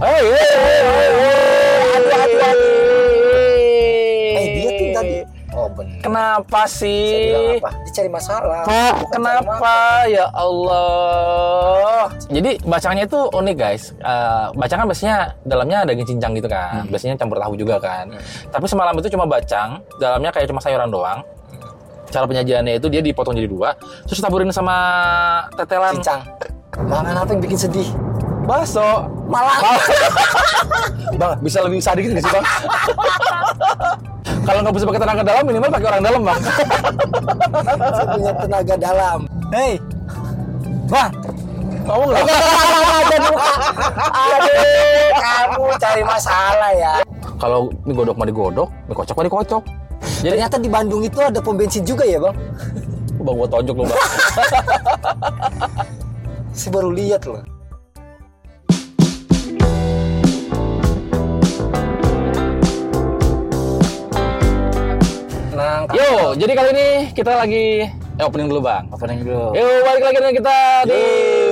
Oh, iya, Hei, hei, hei, hei, aduh, aduh, aduh. Eh dia tuh tadi. Oh benar. Kenapa Saya bilang sih? apa? Dia cari masalah. Pak, Bukan kenapa ya Allah? Jadi bacangnya itu unik guys. Eh bacang kan biasanya dalamnya ada cincang gitu Hmm. kan. Biasanya campur tahu juga kan. Tapi semalam itu cuma bacang, dalamnya kayak cuma sayuran doang. Hmm. Cara penyajiannya itu dia dipotong jadi dua, terus taburin sama cari masalah. tetelan Cincang. Makan apa yang bikin sedih? bakso. Malah. Bang, bisa lebih sadis nggak sih bang? Kalau nggak bisa pakai tenaga dalam, minimal pakai orang dalam bang. Saya punya tenaga dalam. Hei, bang. Kamu nggak? Aduh, kamu cari masalah ya. Kalau mie godok mah digodok, mie kocok mah dikocok. Jadi Ternyata di Bandung itu ada pom bensin juga ya bang? bang gua tonjok lu bang. Saya baru lihat loh. Nangkap. Yo, jadi kali ini kita lagi eh, opening dulu bang. Opening dulu. Yo, balik lagi dengan kita di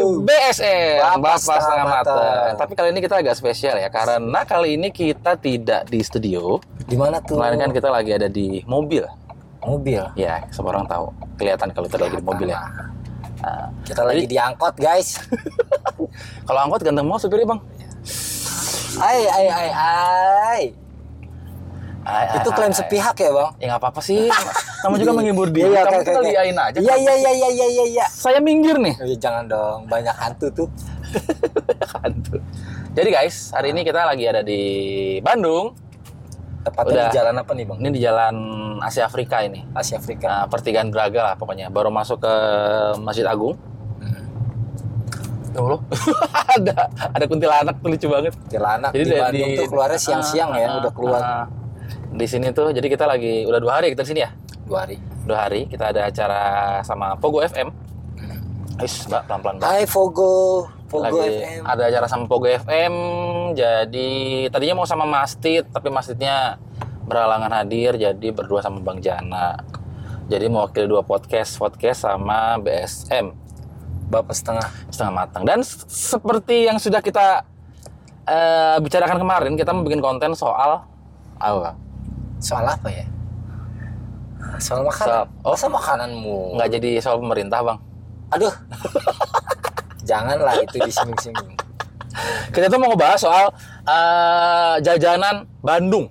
Yo. BSN Bapak Bapak Setengah Setengah Mata. Mata. Tapi kali ini kita agak spesial ya, karena kali ini kita tidak di studio, Di mana tuh? melainkan kan kita lagi ada di mobil. mobil. Ya, semua orang tahu. Kelihatan kalau kita lagi di mobil ya. Nah, Kita lagi diangkot guys. kalau angkot ganteng mau supirnya bang. Ai ai ai ai. Ay, ay, Itu klaim ay. sepihak ya bang? Ya nggak apa-apa sih. Nama juga menghibur dia. ah, Iya, Kamu oke, kita oke, oke. liain aja. Iya iya iya iya iya iya. iya. Saya minggir nih. Oh, iya, jangan dong, banyak hantu tuh. Hantu. Jadi guys, hari ini kita lagi ada di Bandung. Udah. Tepatnya di jalan apa nih bang? Ini di jalan Asia Afrika ini. Asia Afrika. Nah, pertigaan Braga lah pokoknya. Baru masuk ke Masjid Agung. Hmm. Ya Allah. ada ada kuntilanak tuh lucu banget. Jalanak di dari- Bandung tuh keluarnya siang-siang ya, Ah, udah keluar ah. di sini tuh jadi kita lagi udah dua hari kita di sini ya. dua hari. Dua hari kita ada acara sama Pogo FM. Is, Mbak, pelan-pelan, Mbak. Hai Fogo, Fogo lagi FM. ada acara sama Pogo FM jadi tadinya mau sama Mastit tapi Mastitnya berhalangan hadir jadi berdua sama Bang Jana jadi mewakili dua podcast podcast sama BSM Bapak setengah. setengah matang dan s- seperti yang sudah kita eh, bicarakan kemarin kita mau bikin konten soal apa Soal apa ya? Ah, Soal Soal- makanan. oh. Masa makananmu? nggak jadi soal pemerintah bang Aduh. Janganlah itu disinggung-singgung. kita tuh mau ngebahas soal eh, jajanan Bandung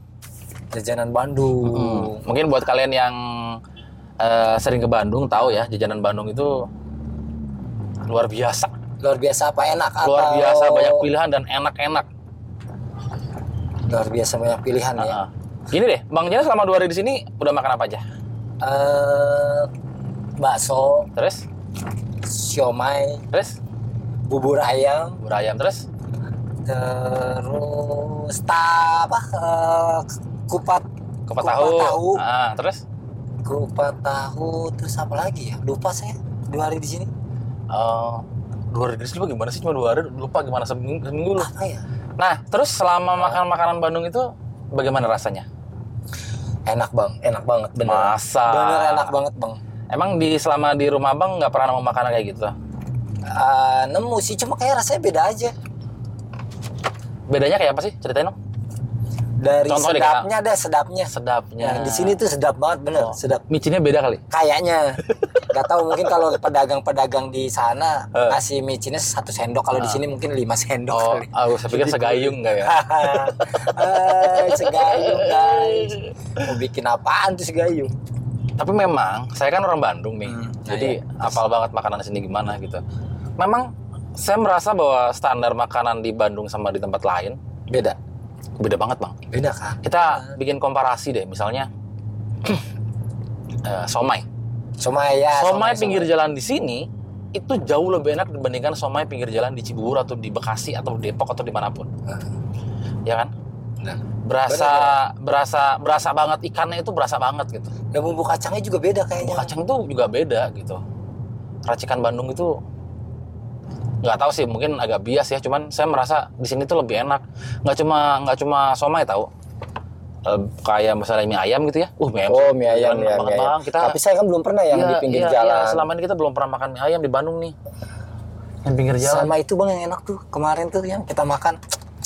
Jajanan Bandung. Hmm, Mungkin buat kalian yang eh, sering ke Bandung tahu ya, jajanan Bandung itu luar biasa, Luar biasa apa enak luar atau- biasa banyak pilihan dan enak-enak. Luar biasa banyak pilihan ya. Nah, Gini deh, Bang Jana selama dua hari di sini udah makan apa aja? Eh, bakso, Terus, siomay, terus, bubur ayam, bubur ayam, terus terus ta apa eh, kupat kupat tahu, tahu Ah, terus kupat tahu terus apa lagi ya lupa saya dua hari di sini eh, dua hari di sini lu gimana sih? Cuma dua hari lupa gimana seminggu, seminggu lu. apa ya Nah, terus selama makan makanan Bandung itu bagaimana rasanya? enak bang enak banget bener Masa? bener enak banget bang Emang di selama di rumah Bang nggak pernah nemu makanan kayak gitu? Eh, nemu sih cuma kayak rasanya beda aja Bedanya kayak apa sih? Ceritain dong. dari Contoh deh, sedapnya dah sedapnya Sedapnya. Nah, di sini tuh sedap banget bener Oh. sedap micinnya beda kali. kayaknya nggak tahu mungkin kalau pedagang-pedagang di sana Eh. kasih micinnya satu sendok kalau di sini mungkin lima sendok Oh, kali. aku saya pikir segayung enggak ya? Hai, Eh, segayung guys. Mau bikin apaan tuh segayung? Tapi memang saya kan orang Bandung nih. Hmm, nah jadi hafal banget makanan sini gimana gitu. Memang saya merasa bahwa standar makanan di Bandung sama di tempat lain Beda. beda banget, Bang. Beda kan? Kita bikin komparasi deh, misalnya eh, somai. Somai ya. somai pinggir jalan di sini itu jauh lebih enak dibandingkan somai pinggir jalan di Cibubur atau di Bekasi atau di Depok atau dimanapun. Ya kan? Nah, ya. berasa berasa berasa banget ikannya itu berasa banget gitu dan bumbu kacangnya juga beda bumbu kayaknya. kacang tuh juga beda gitu racikan Bandung itu nggak tahu sih mungkin agak bias ya cuman saya merasa di sini tuh lebih enak nggak cuma nggak cuma somai tahu Eh, kayak misalnya mie ayam gitu ya uh mie ayam Oh, mie ayam, Enak mie ayam, banget, mie ayam. Bang. kita Tapi saya kan belum pernah yang iya, di pinggir iya, jalan. iya. selama ini kita belum pernah makan mie ayam di Bandung nih yang pinggir jalan Sama itu bang yang enak tuh kemarin tuh yang kita makan.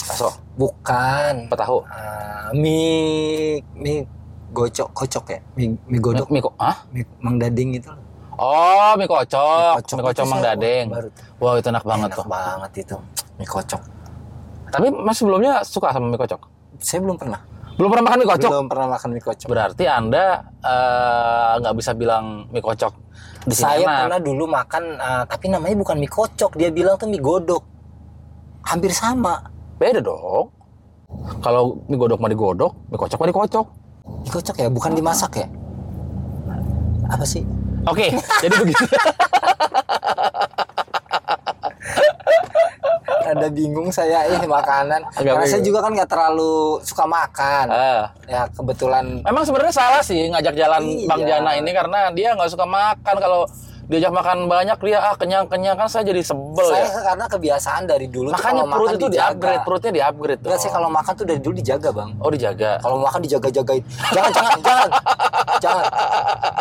Taso, Bukan. apa tahu? Ah, mie mie gocok kocok ya. Mie, mie godok, Mie, ko- Hah? mie mangdading itu. Oh, mie kocok. Mie kocok, Itu Mang saya Dadeng. baru- Wow, itu enak banget Enak tuh. banget itu. Mie kocok. Tapi Mas sebelumnya suka sama mie kocok? Saya belum pernah. Belum pernah makan mie kocok? Belum pernah makan mie kocok. Berarti Anda eh, nggak bisa bilang mie kocok di sini Saya enak. pernah dulu makan ah, tapi namanya bukan mie kocok, dia bilang tuh mie godok. Hampir sama. Beda dong. Kalau mie godok mah digodok, mie kocok mah dikocok. Mie kocok ya, bukan dimasak ya? Apa sih? Oke, jadi begitu. Eh. Ada bingung saya ini makanan. Agak Karena saya bingung. juga kan nggak terlalu suka makan. Ah. Ya kebetulan Emang sebenarnya salah sih ngajak jalan Iya. Bang Jana ini karena dia nggak suka makan kalau diajak makan banyak dia ah kenyang kenyang kan saya jadi sebel ya. saya karena kebiasaan dari dulu tuh Makanya kalau perut Oh. makan itu di dijaga. upgrade, perutnya di upgrade Enggak sih kalau makan tuh dari dulu dijaga, Bang. Oh dijaga. Kalau makan dijaga-jagain. Jangan, jangan, jangan. Jangan.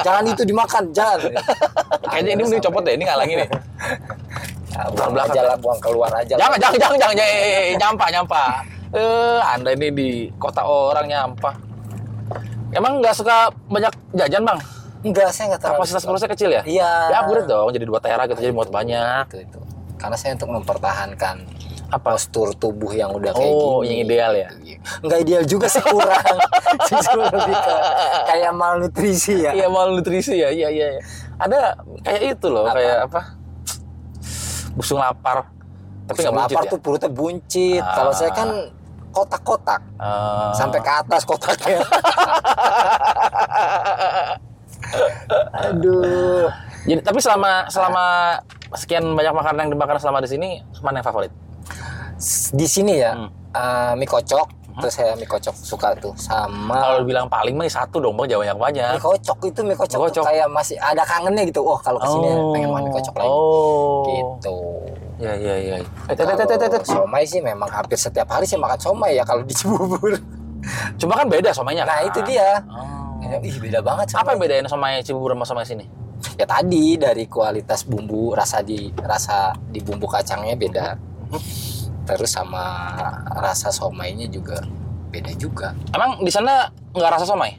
Jangan itu dimakan, jangan. Kayaknya ini mending copot deh, ini ngalangin nih. Ya, Buang buang belakang. aja lah, buang keluar aja. lah. jangan, jangan, jangan, jangan, jangan, eh, eh, eh, nyampah, nyampah. Eh, anda ini di kota orang nyampah. Emang nggak suka banyak jajan bang? Enggak, saya enggak terlalu. Kapasitas perutnya kecil ya? Iya. Ya upgrade dong, jadi dua tera gitu, jadi muat banyak. Itu, itu. Gitu. Karena saya untuk mempertahankan Apa? postur tubuh yang udah kayak Oh, gini. yang ideal ya. Enggak ideal juga sih kurang. Justru lebih ke kayak malnutrisi ya. Iya malnutrisi ya, iya iya. iya. Ada kayak itu loh, Apa? kayak apa? Busung lapar, tapi nggak Lapar buncit ya. tuh perutnya buncit. Ah. Kalau saya kan kotak-kotak. Eh, sampai ke atas kotaknya. Aduh. Jadi tapi selama selama sekian banyak makanan yang dimakan selama di sini mana yang favorit? S- Di sini ya Hmm. eh, mie kocok, terus saya mie kocok suka tuh sama Kalau bilang paling mah ya satu dong bang, jangan banyak banyak. mie kocok itu mie kocok, Mie tuh kocok. kayak masih ada kangennya gitu. Oh, kalau kesini pengen makan mie kocok lagi. Oh. Gitu. Ya ya ya. Eh, tet, tet, tet, tet, tet. Kalau somai sih memang hampir setiap hari saya makan somai ya kalau di Cibubur. Cuma kan beda somainya. Nah, kan? itu dia. Oh. Ya, Ih, beda banget Apa sama yang bedain somai Cibubur sama somai sini? ya tadi dari kualitas bumbu rasa di rasa di bumbu kacangnya beda terus sama rasa somainya juga beda juga Emang di sana nggak rasa ya? somai?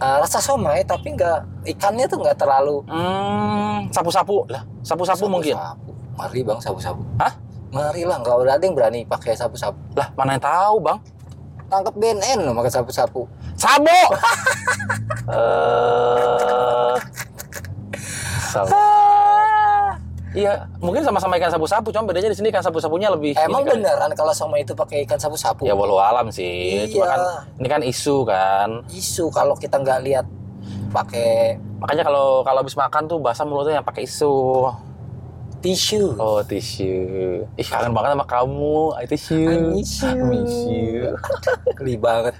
Eh, rasa somai tapi nggak ikannya tuh nggak terlalu Hmm, sapu-sapu lah. Sapu-sapu mungkin. Sabu-sabu. mari bang sabu-sabu Hah? mari lah nggak ada yang berani pakai sabu-sabu Lah, mana yang tahu, Bang? tangkap BNN loh pakai sabu-sabu Sabo. Eh. Sabo. Iya, mungkin sama-sama ikan sabu-sabu, cuma bedanya di sini ikan sabu-sabunya lebih. emang ini kan. beneran kalau somai itu pakai ikan sabu-sabu Ya walau alam sih, cuma Iya. kan ini kan isu kan. isu kalau kita nggak lihat pakai Makanya kalau kalau habis makan tuh basah mulutnya yang pakai isu. tisu Oh tisu. Ih kangen banget sama kamu, I tisu. I miss you. Miss you. Geli banget.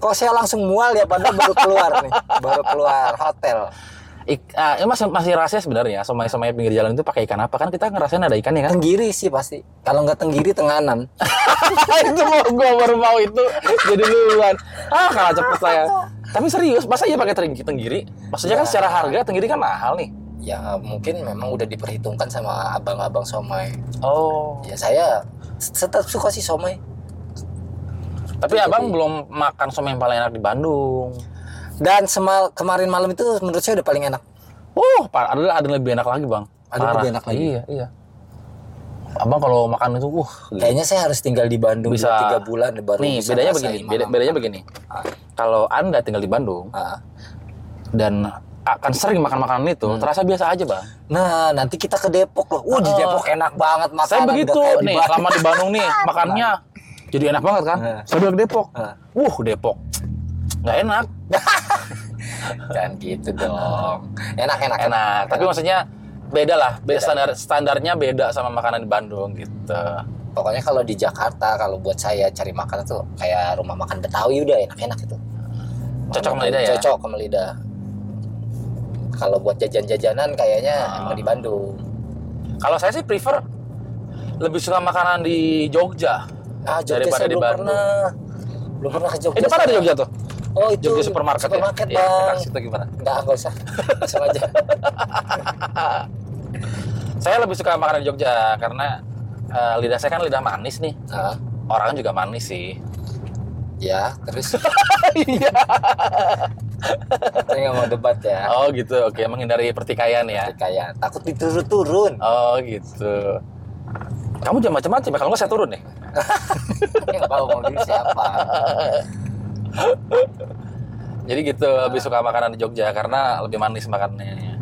Kok saya langsung mual ya padahal baru keluar nih, baru keluar hotel. Ik, ah, ini masih masih rahasia sebenarnya. Somai-somai pinggir jalan itu pakai ikan apa kan kita ngerasain ada ikan ya kan? Tenggiri sih pasti. Kalau nggak tenggiri tenganan. itu mau gue baru mau itu jadi duluan ah kalah cepet saya tapi serius masa iya pakai tenggiri tenggiri maksudnya kan Ya. secara harga tenggiri kan mahal nih Ya mungkin memang udah diperhitungkan sama abang-abang somai. oh Ya saya tetap suka sih somai. tapi Jadi- abang belum makan somai yang paling enak di Bandung Dan semal kemarin malam itu menurut saya udah paling enak. uh par- ada ada yang lebih enak lagi bang Ada yang Parah. lebih enak lagi? iya iya abang kalau makan itu uh gila. Kayaknya saya harus tinggal di Bandung Bisa. dua, tiga bulan baru nih bisa bedanya ngerasain begini beda- malam. bedanya begini Ah. kalau anda tinggal di Bandung Ah. dan akan sering makan makanan itu Hmm. terasa biasa aja bang Nah, nanti kita ke Depok loh. Wah, di Ah. Depok enak banget makanan. Saya begitu udah kayak di nih Bali. selama di Bandung nih makannya jadi enak banget kan. Nah. Saya bilang ke Depok. Nah. Wuh Depok nggak enak. Jangan gitu dong. Enak, enak, enak. Enak. Tapi maksudnya beda lah. Beda Beda. standar standarnya beda sama makanan di Bandung gitu. Pokoknya kalau di Jakarta, kalau buat saya cari makan tuh kayak rumah makan Betawi udah enak-enak itu. Cocok sama lidah ya? Cocok sama lidah. Kalau buat jajan-jajanan kayaknya Ah. emang di Bandung. Kalau saya sih prefer lebih suka makanan di Jogja. Ah, Jogja Daripada saya di belum Bandung. pernah. Belum pernah ke Jogja. Eh depan ada saya. Jogja tuh. Oh, itu Jogja supermarket, supermarket, ya. Iya, Bang. dekat situ gimana? Enggak, enggak usah. Langsung aja. Saya lebih suka makanan di Jogja karena eh, lidah saya kan lidah manis nih. Nah, Orang juga manis sih. ya terus Iya. saya nggak mau debat ya oh gitu. Oke, menghindari pertikaian ya. kayak takut diturun-turun Oh gitu. Kamu jangan macam-macam ya. Kalau nggak saya turun nih. yang tahu mau diri siapa Jadi gitu. Lebih suka makanan di Jogja karena lebih manis makanannya.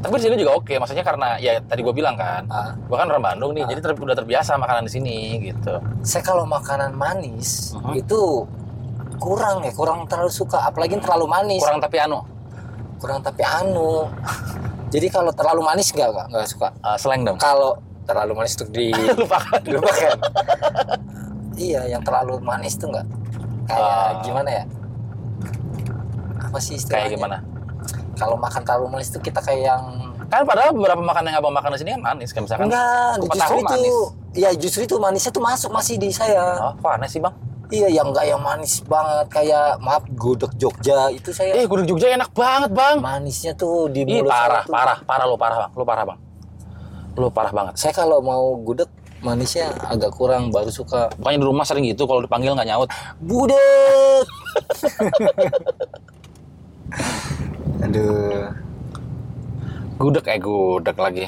Tapi di sini juga oke. Maksudnya karena ya tadi gue bilang kan. Ah, Gue kan orang Bandung nih. Jadi ter- udah terbiasa makanan di sini gitu. saya kalau makanan manis Mhm. itu kurang ya kurang terlalu suka apalagi terlalu manis kurang, Kurang tapi anu. tapi anu jadi kalau terlalu manis nggak nggak nggak suka eh, seleng dong. kan kalau terlalu manis tuh di Lupakan. dilupakan iya yang terlalu manis tuh nggak kayak Ah. gimana ya apa sih istilahnya Kayak gimana? kalau makan terlalu manis tuh kita kayak yang Kan padahal beberapa makanan yang abang makan di sini kan manis. Kayak misalkan. enggak kupat justru tahu itu ya justru itu manisnya tuh masuk masih di saya Oh, kok aneh sih bang? iya yang enggak yang manis banget kayak maaf gudeg Jogja itu saya Eh, gudeg Jogja enak banget bang. manisnya tuh di Ih mulut parah, saya tuh. parah, parah lo parah bang, lo parah bang, lo parah banget. saya kalau mau gudeg manisnya agak kurang baru suka Pokoknya di rumah sering gitu, kalau dipanggil nggak nyaut. Budek. Aduh. Gudeg eh gudeg lagi.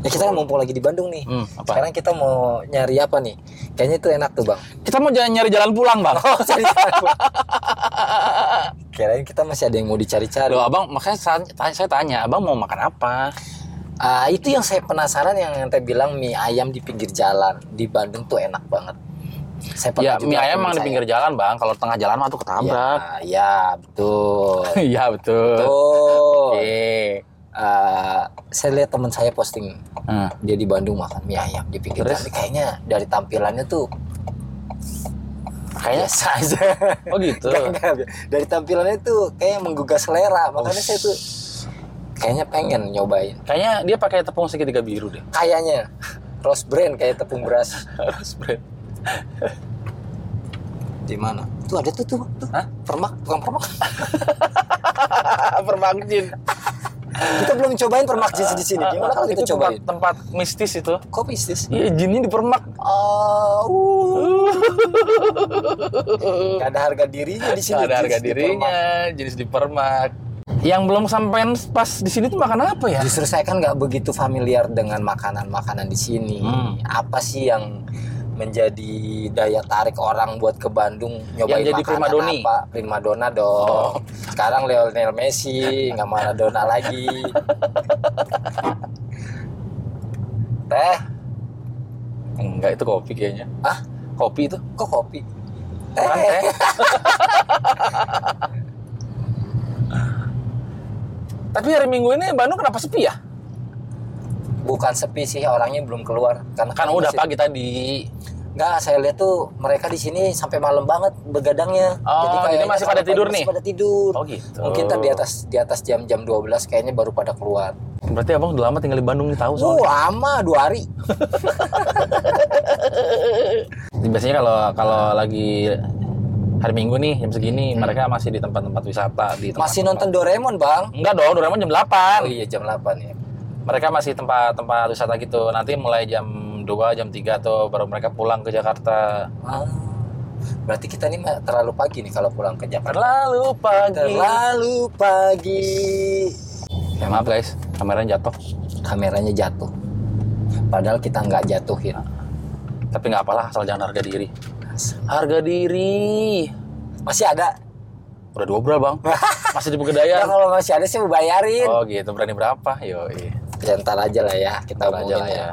Ya kita kan mumpung lagi di Bandung nih. Hmm, apa? Sekarang kita mau nyari apa nih? Kayaknya itu enak tuh bang. Kita mau jalan nyari jalan pulang bang. Oh, Cari Kirain kita masih ada yang mau dicari-cari. Aduh abang, makanya sa- tanya- saya tanya, abang mau makan apa? Ah itu yang saya penasaran yang ente bilang mie ayam di pinggir jalan di Bandung tuh enak banget. Saya Ya pernah juga ya. mie ayam temen emang di saya. pinggir jalan bang, kalau tengah jalan mah tuh Ya, ketabrak. ya betul. Iya betul. Betul. Oke. Ah, saya lihat teman saya posting Hmm. dia di Bandung makan mie ayam di pinggir Terus? jalan. kayaknya dari tampilannya tuh Kayaknya biasa aja oh gitu. Nggak, nggak. dari tampilannya tuh kayak menggugah selera makanya saya tuh kayaknya pengen nyobain Kayaknya dia pakai tepung segitiga biru deh. kayaknya rose brand kayak tepung beras Harus bread. di mana tuh ada tuh tuh, tuh. Hah? permak bukan permak Ah, Permangkin. kita belum cobain permak di di sini gimana kalau Ah, kita Itu tempat, cobain tempat mistis itu. kopi sis Iya jinnya dipermak. Ah, uh. Nggak ada harga dirinya di sini Nggak ada harga sis, di dirinya, permak. jenis di permak. Yang belum sampean pas di sini tuh makan apa ya? Justru saya kan nggak begitu familiar dengan makanan-makanan di sini. Hmm. Apa sih yang menjadi daya tarik orang buat ke Bandung nyobain Yang jadi makanan primadoni. apa? Primadona dong. Sekarang Lionel Messi nggak Maradona lagi. Teh, Enggak, itu kopi kayaknya. ah Kopi itu. kok kopi? Eh, Bukan Teh, teh. Tapi hari Minggu ini Bandung kenapa sepi ya? bukan sepi sih orangnya belum keluar karena Kan udah masih- pagi tadi. Nggak, saya lihat tuh mereka di sini sampai malam banget begadangnya. Oh, jadi kayaknya masih kalau pada tidur pagi nih? Masih pada tidur. Oh gitu. Mungkin ntar di atas di atas jam-jam 12 kayaknya baru pada keluar. Berarti abang udah lama tinggal di Bandung nih tahu soalnya. Oh, lama dua hari. Biasanya kalau kalau lagi hari Minggu nih jam segini mereka masih di tempat-tempat wisata di tempat Masih nonton Doraemon, Bang. Enggak dong, Doraemon jam 8. Oh iya jam 8 ya. mereka masih tempat-tempat wisata gitu. Nanti mulai jam 2, jam 3 tuh baru mereka pulang ke Jakarta. Ah, Berarti kita ini mah terlalu pagi nih kalau pulang ke Jakarta. Terlalu pagi. Terlalu pagi. Ya, maaf guys, kameranya jatuh. Kameranya jatuh. Padahal kita nggak jatuhin. Tapi nggak apalah, asal jangan harga diri. Harga diri. Masih ada. Udah dobral bang. Masih di Ya, Pegadaian. kalau masih ada sih mau bayarin. Oh gitu, berani berapa? Yoi. Ya, ntar aja lah ya. Kita Ntar aja omongin lah ya. ya.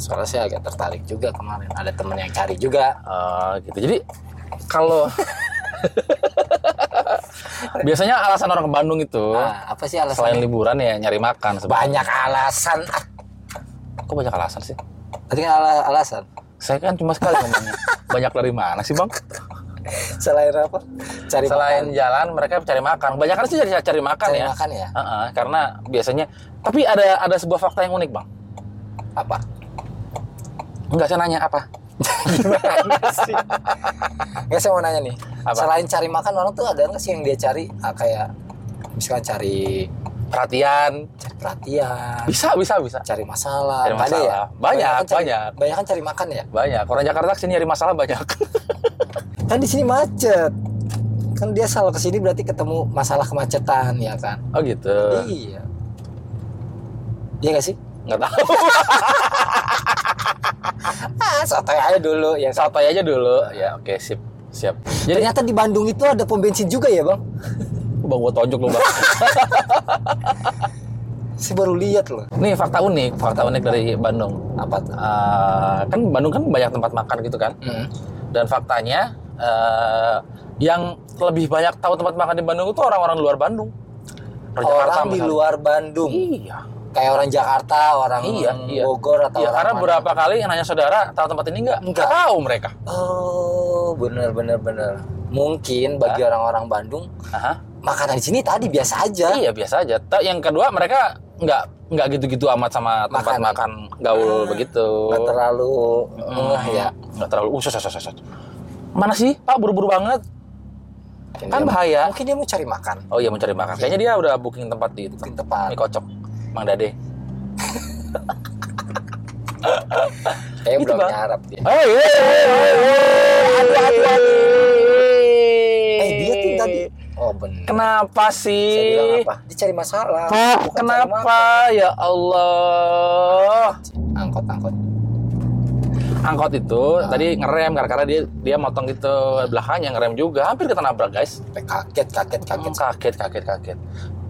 Soalnya saya agak tertarik juga kemarin. Ada temen yang cari juga. Eh, gitu. Jadi kalau biasanya alasan orang ke Bandung itu Ah, apa sih selain alasannya? liburan ya nyari makan. sebenarnya. Banyak alasan. Ah, Kok banyak alasan sih? Tadi kan ala- alasan. Saya kan cuma sekali ngomongnya. Banyak dari mana sih bang? Selain apa? Cari Selain makan. jalan mereka cari makan. Kebanyakan sih cari cari makan cari ya. makan ya? Heeh, karena biasanya. Tapi ada ada sebuah fakta yang unik bang. Apa? Enggak saya nanya apa? Nggak, Ya, saya mau nanya nih. Apa? Selain cari makan, orang tuh ada nggak sih yang dia cari? Ah, kayak misalkan cari perhatian. cari perhatian Bisa, bisa, bisa. cari masalah, Cari Nggak ada masalah. ya Banyak, Kebanyakan cari- banyak. kebanyakan cari makan ya Banyak. Orang Jakarta kesini nyari masalah banyak. kan di sini macet kan dia selalu kesini berarti ketemu masalah kemacetan ya kan Oh gitu. iya iya gak sih Nggak tahu. ah sotoy aja dulu ya kan? Santai aja dulu. Ya, oke, sip. Siap. Jadi, ternyata di Bandung itu ada pom bensin juga ya bang bang gua tonjok lu, Bang. saya baru lihat loh Nih fakta unik, fakta unik dari Bandung. apa tuh Eh, kan Bandung kan banyak tempat makan gitu kan. Hmm. Dan faktanya eh, yang lebih banyak tahu tempat makan di Bandung itu orang-orang luar Bandung. Orang Jakarta orang di misalnya. luar Bandung Iya. kayak orang Jakarta orang Iya, iya. Bogor atau Iya, orang karena mana. berapa kali yang nanya saudara tahu tempat ini nggak? Nggak. Nggak tahu mereka. oh bener bener bener mungkin bagi orang-orang Bandung Aha. makanan di sini tadi biasa aja Iya biasa aja. Ta- yang kedua mereka nggak nggak gitu-gitu amat sama tempat Makan. makan, gaul Ah, begitu. Hmm, nggak terlalu ngeh ya Nggak terlalu uh, usus usus usus. Mana sih Pak buru-buru banget? Mungkin Kan dia- bahaya. mungkin dia mau cari makan Oh iya mau cari makan. Kayaknya dia udah booking tempat di mungkin Mie tepat kocok, Mang Dade. kayak Gitu, belum Bang. nyarap dia Hey, hey, hey, hey, eh dia tuh tadi oh bener Kenapa saya bilang sih? apa dia cari masalah Pak, bukan cari Iya. kenapa makan. ya Allah? angkot angkot Angkot itu Ah. tadi ngerem karena dia dia motong gitu belakangnya ngerem juga hampir ketabrak guys. Sampai kaget kaget kaget Hmm, kaget kaget kaget.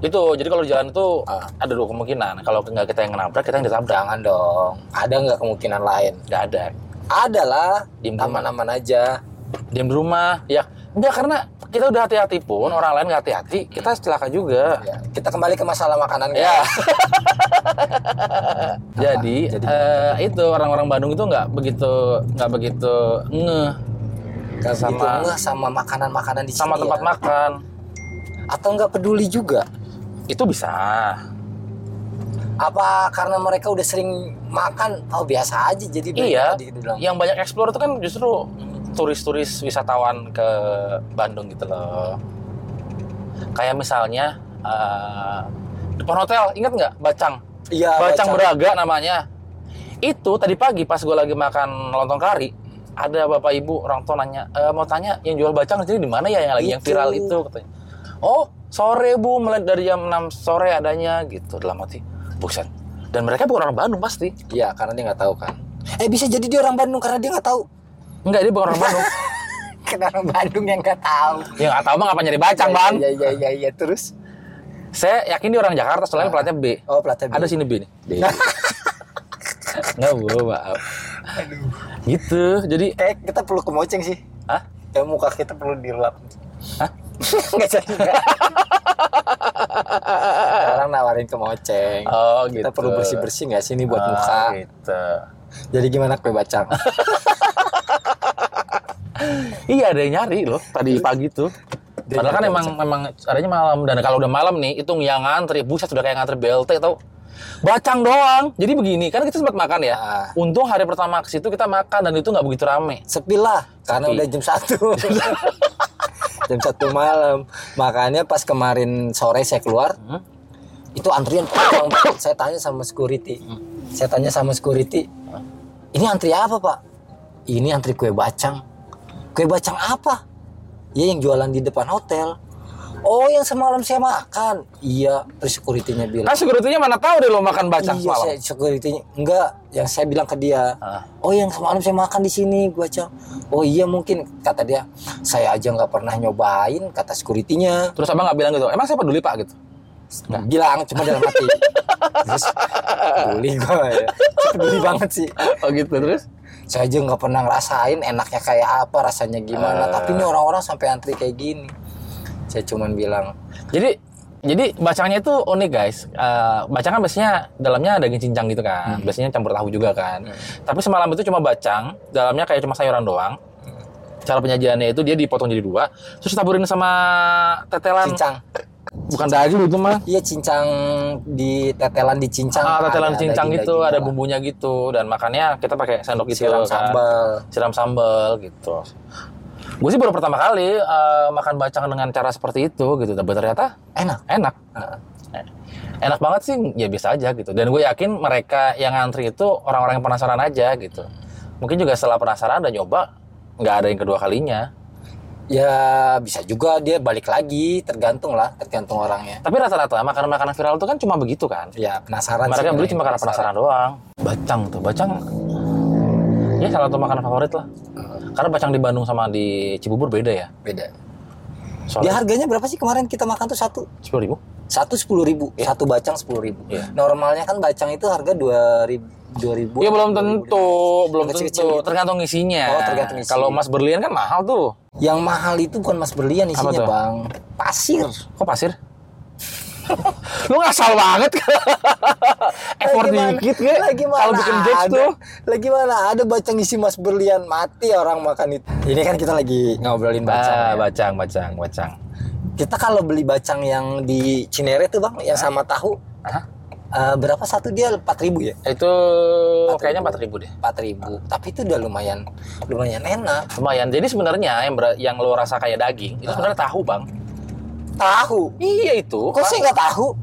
Itu jadi kalau di jalan itu Ah. ada dua kemungkinan. Kalau nggak kita yang nabrak, kita yang ditabrak. jangan dong ada nggak kemungkinan lain Nggak ada. ada lah Diem di rumah. aman-aman aja Diam di rumah. Ya, enggak karena kita udah hati-hati pun orang lain nggak hati-hati, kita celaka juga. Ya, kita kembali ke masalah makanan Ya. guys. Jadi, Jadi- eh, itu orang-orang Bandung itu nggak begitu nggak begitu ngeh Nggak Sama- begitu ngeh sama makanan-makanan di sama sini tempat ya. makan. atau nggak peduli juga Itu bisa. apa karena mereka udah sering makan oh biasa aja jadi mereka Iya. tadi dibilang, Yang banyak explore itu kan justru turis-turis wisatawan ke Bandung gitu loh. Kayak misalnya eh, depan hotel, ingat nggak? Bacang. iya Bacang berat Beraga namanya. Itu tadi pagi pas gue lagi makan lontong kari, ada bapak ibu orang tua nanya, "E, mau tanya yang jual bacang jadi di mana ya yang lagi yang Itu. viral itu katanya. Oh, sore Bu, mulai dari jam 6 sore adanya gitu dalam hati. Buset. Dan mereka bukan orang Bandung pasti. iya karena dia nggak tahu kan eh bisa jadi dia orang Bandung karena dia nggak tahu Enggak, dia bukan orang Bandung. karena orang Bandung yang nggak tahu ya nggak tahu bang apa nyari bacang bang. iya iya iya iya terus Saya yakin dia orang Jakarta soalnya Ah. pelatnya B. oh pelatih Ada sini B nih. B. Iya. Nggak bu, maaf. Gitu, jadi ah, kayak kita perlu kemoceng sih Hah? ya muka kita perlu dilap Hah? nggak jadi nggak. orang nawarin kemoceng Oh gitu. kita perlu bersih bersih nggak sih ini buat Ah, muka gitu. jadi gimana kue bacang Iya ada yang nyari loh tadi pagi tuh. Dia Padahal kan nyari emang emang adanya malam dan kalau udah malam nih hitung yang ngantri buset sudah kayak ngantri BLT atau bacang doang. Jadi begini kan kita sempat makan ya. Ah. Untung hari pertama ke situ kita makan dan itu nggak begitu rame. sepi lah karena Sepi. udah jam satu jam satu malam makanya pas kemarin sore saya keluar Hmm. itu antrian panjang Pak. saya tanya sama security Hmm. saya tanya sama security ini antri apa pak ini antri kue bacang kue bacang apa ya yang jualan di depan hotel oh yang semalam saya makan iya terus securitynya bilang Kan security-nya mana tahu deh lo makan bacang iya saya semalam. securitynya enggak yang saya bilang ke dia Ah. Oh yang semalam saya makan di sini, gua cang. Oh iya mungkin kata dia. Saya aja nggak pernah nyobain kata securitynya. Terus abang nggak bilang gitu. Emang saya peduli pak gitu. Bilang cuma dalam hati. Terus peduli gua ya. Saya Peduli banget sih. Oh gitu terus. Saya aja nggak pernah ngerasain enaknya kayak apa, rasanya gimana. Eh. Tapi ini orang-orang sampai antri kayak gini. Saya cuman bilang, Jadi jadi bacangnya itu unik guys. Eh bacang kan biasanya dalamnya daging cincang gitu kan. Biasanya campur tahu juga kan. Tapi semalam itu cuma bacang, dalamnya kayak cuma sayuran doang. Cara penyajiannya itu dia dipotong jadi dua, terus taburin sama tetelan cincang. bukan daging gitu, itu mah. Iya cincang di tetelan di cincang. Ah, tetelan Ada cincang daging-daging gitu, ada lah. bumbunya gitu dan makannya kita pakai sendok gitu Siram kan. sambal. Siram sambal gitu. Gue sih baru pertama kali eh, makan bacang dengan cara seperti itu gitu, tapi ternyata Enak. enak. Heeh. enak banget sih ya biasa aja gitu dan gue yakin mereka yang ngantri itu orang-orang yang penasaran aja gitu mungkin juga setelah penasaran dan nyoba nggak ada yang kedua kalinya Ya bisa juga dia balik lagi, tergantung lah, tergantung orangnya. tapi rata-rata makanan-makanan viral itu kan cuma begitu kan Ya penasaran. mereka sih, beli bener. cuma karena penasaran doang bacang tuh bacang ya salah satu makanan favorit lah karena bacang di Bandung sama di Cibubur beda ya Beda. Dia soalnya harganya berapa sih kemarin kita makan tuh satu? sepuluh ribu Satu sepuluh ribu, satu bacang sepuluh ribu. Iya. Normalnya kan bacang itu harga dua ribu, dua ribu. ya belum tentu belum Yang tentu kecil-kecil gitu. tergantung isinya Oh, tergantung isinya. kalau mas berlian kan mahal tuh Yang mahal itu bukan mas berlian isinya tuh? bang, pasir. kok pasir lu ngasal banget effort Lagi mana- dikit kan Lagi mana? kalau bikin jokes ada- tuh Lagi mana? Ada bacang isi mas berlian mati orang makan itu. Ini kan kita lagi ngobrolin bacang. Ah, ya. bacang bacang bacang Kita kalau beli bacang yang di Cinere tuh bang, yang sama tahu, Hah? eh, berapa satu dia empat ribu ya? itu kayaknya empat ribu deh Empat ribu. Tapi itu udah lumayan, lumayan enak. lumayan jadi sebenarnya yang ber- yang lo rasa kayak daging Ah. itu sebenarnya tahu bang Tahu. iya itu Kok saya nggak tahu?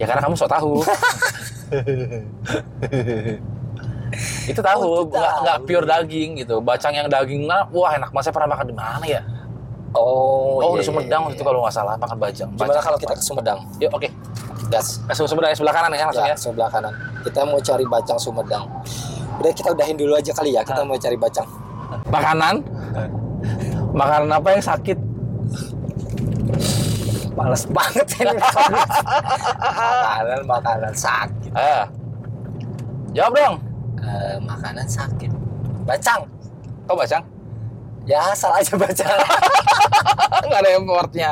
ya karena kamu sok tahu itu Oh, tahu itu nggak nggak tahu. pure daging gitu bacang yang dagingnya wah enak banget saya pernah makan di mana ya Oh, oh, di iya, Sumedang iya, waktu itu iya. kalau nggak salah makan bacang Gimana bacang kalau kita ke Sumedang? yuk oke Gas. Langsung Eh, sebelah sebelah kanan ya langsung Ya, ya. sebelah kanan. Kita mau cari bacang Sumedang. Udah kita udahin dulu aja kali ya. Kita mau cari bacang. Makanan. Makanan apa yang sakit? Males banget ini. makanan makanan sakit. Eh. Jawab dong. Eh, makanan sakit. Bacang. Kau bacang? Ya asal aja bacang. Enggak Ah, ada importnya.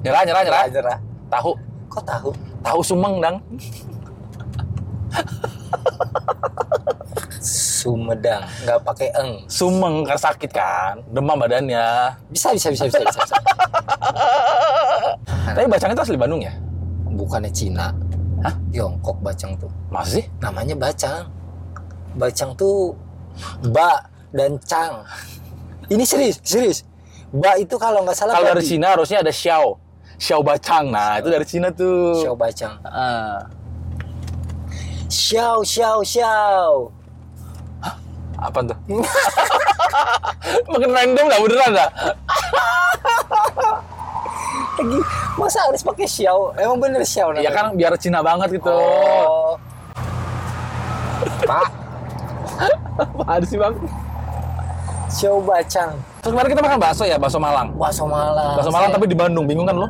Nyerah, nyerah, nyerah. Nyerah. Tahu. Kok tahu? Tahu Sumeng, Dang. Sumedang. Nggak pakai eng. Sumeng kan sakit kan? Demam badannya. Bisa bisa bisa bisa bisa. bisa. Tapi bacang itu asli Bandung ya? Bukannya Cina. Hah? Tiongkok bacang tuh. Masa sih? namanya bacang. Bacang tuh ba dan cang. Ini serius, serius. Ba itu kalau nggak salah Kalau dari babi. Cina harusnya ada Xiao. Xiao bacang. Nah, itu dari Cina tuh. Xiao bacang. Eh, Xiao, xiao, xiao. apa tuh? Makin random dah beneran dah. Lagi, masa harus pakai xiao? Emang bener xiao Ya kan biar Cina banget gitu. Oh. Pak, Apaan sih bang? xiao bacang. Terus kemarin kita makan bakso ya, bakso Malang. Bakso Malang. Bakso Malang Saya- tapi di Bandung, bingung kan lo?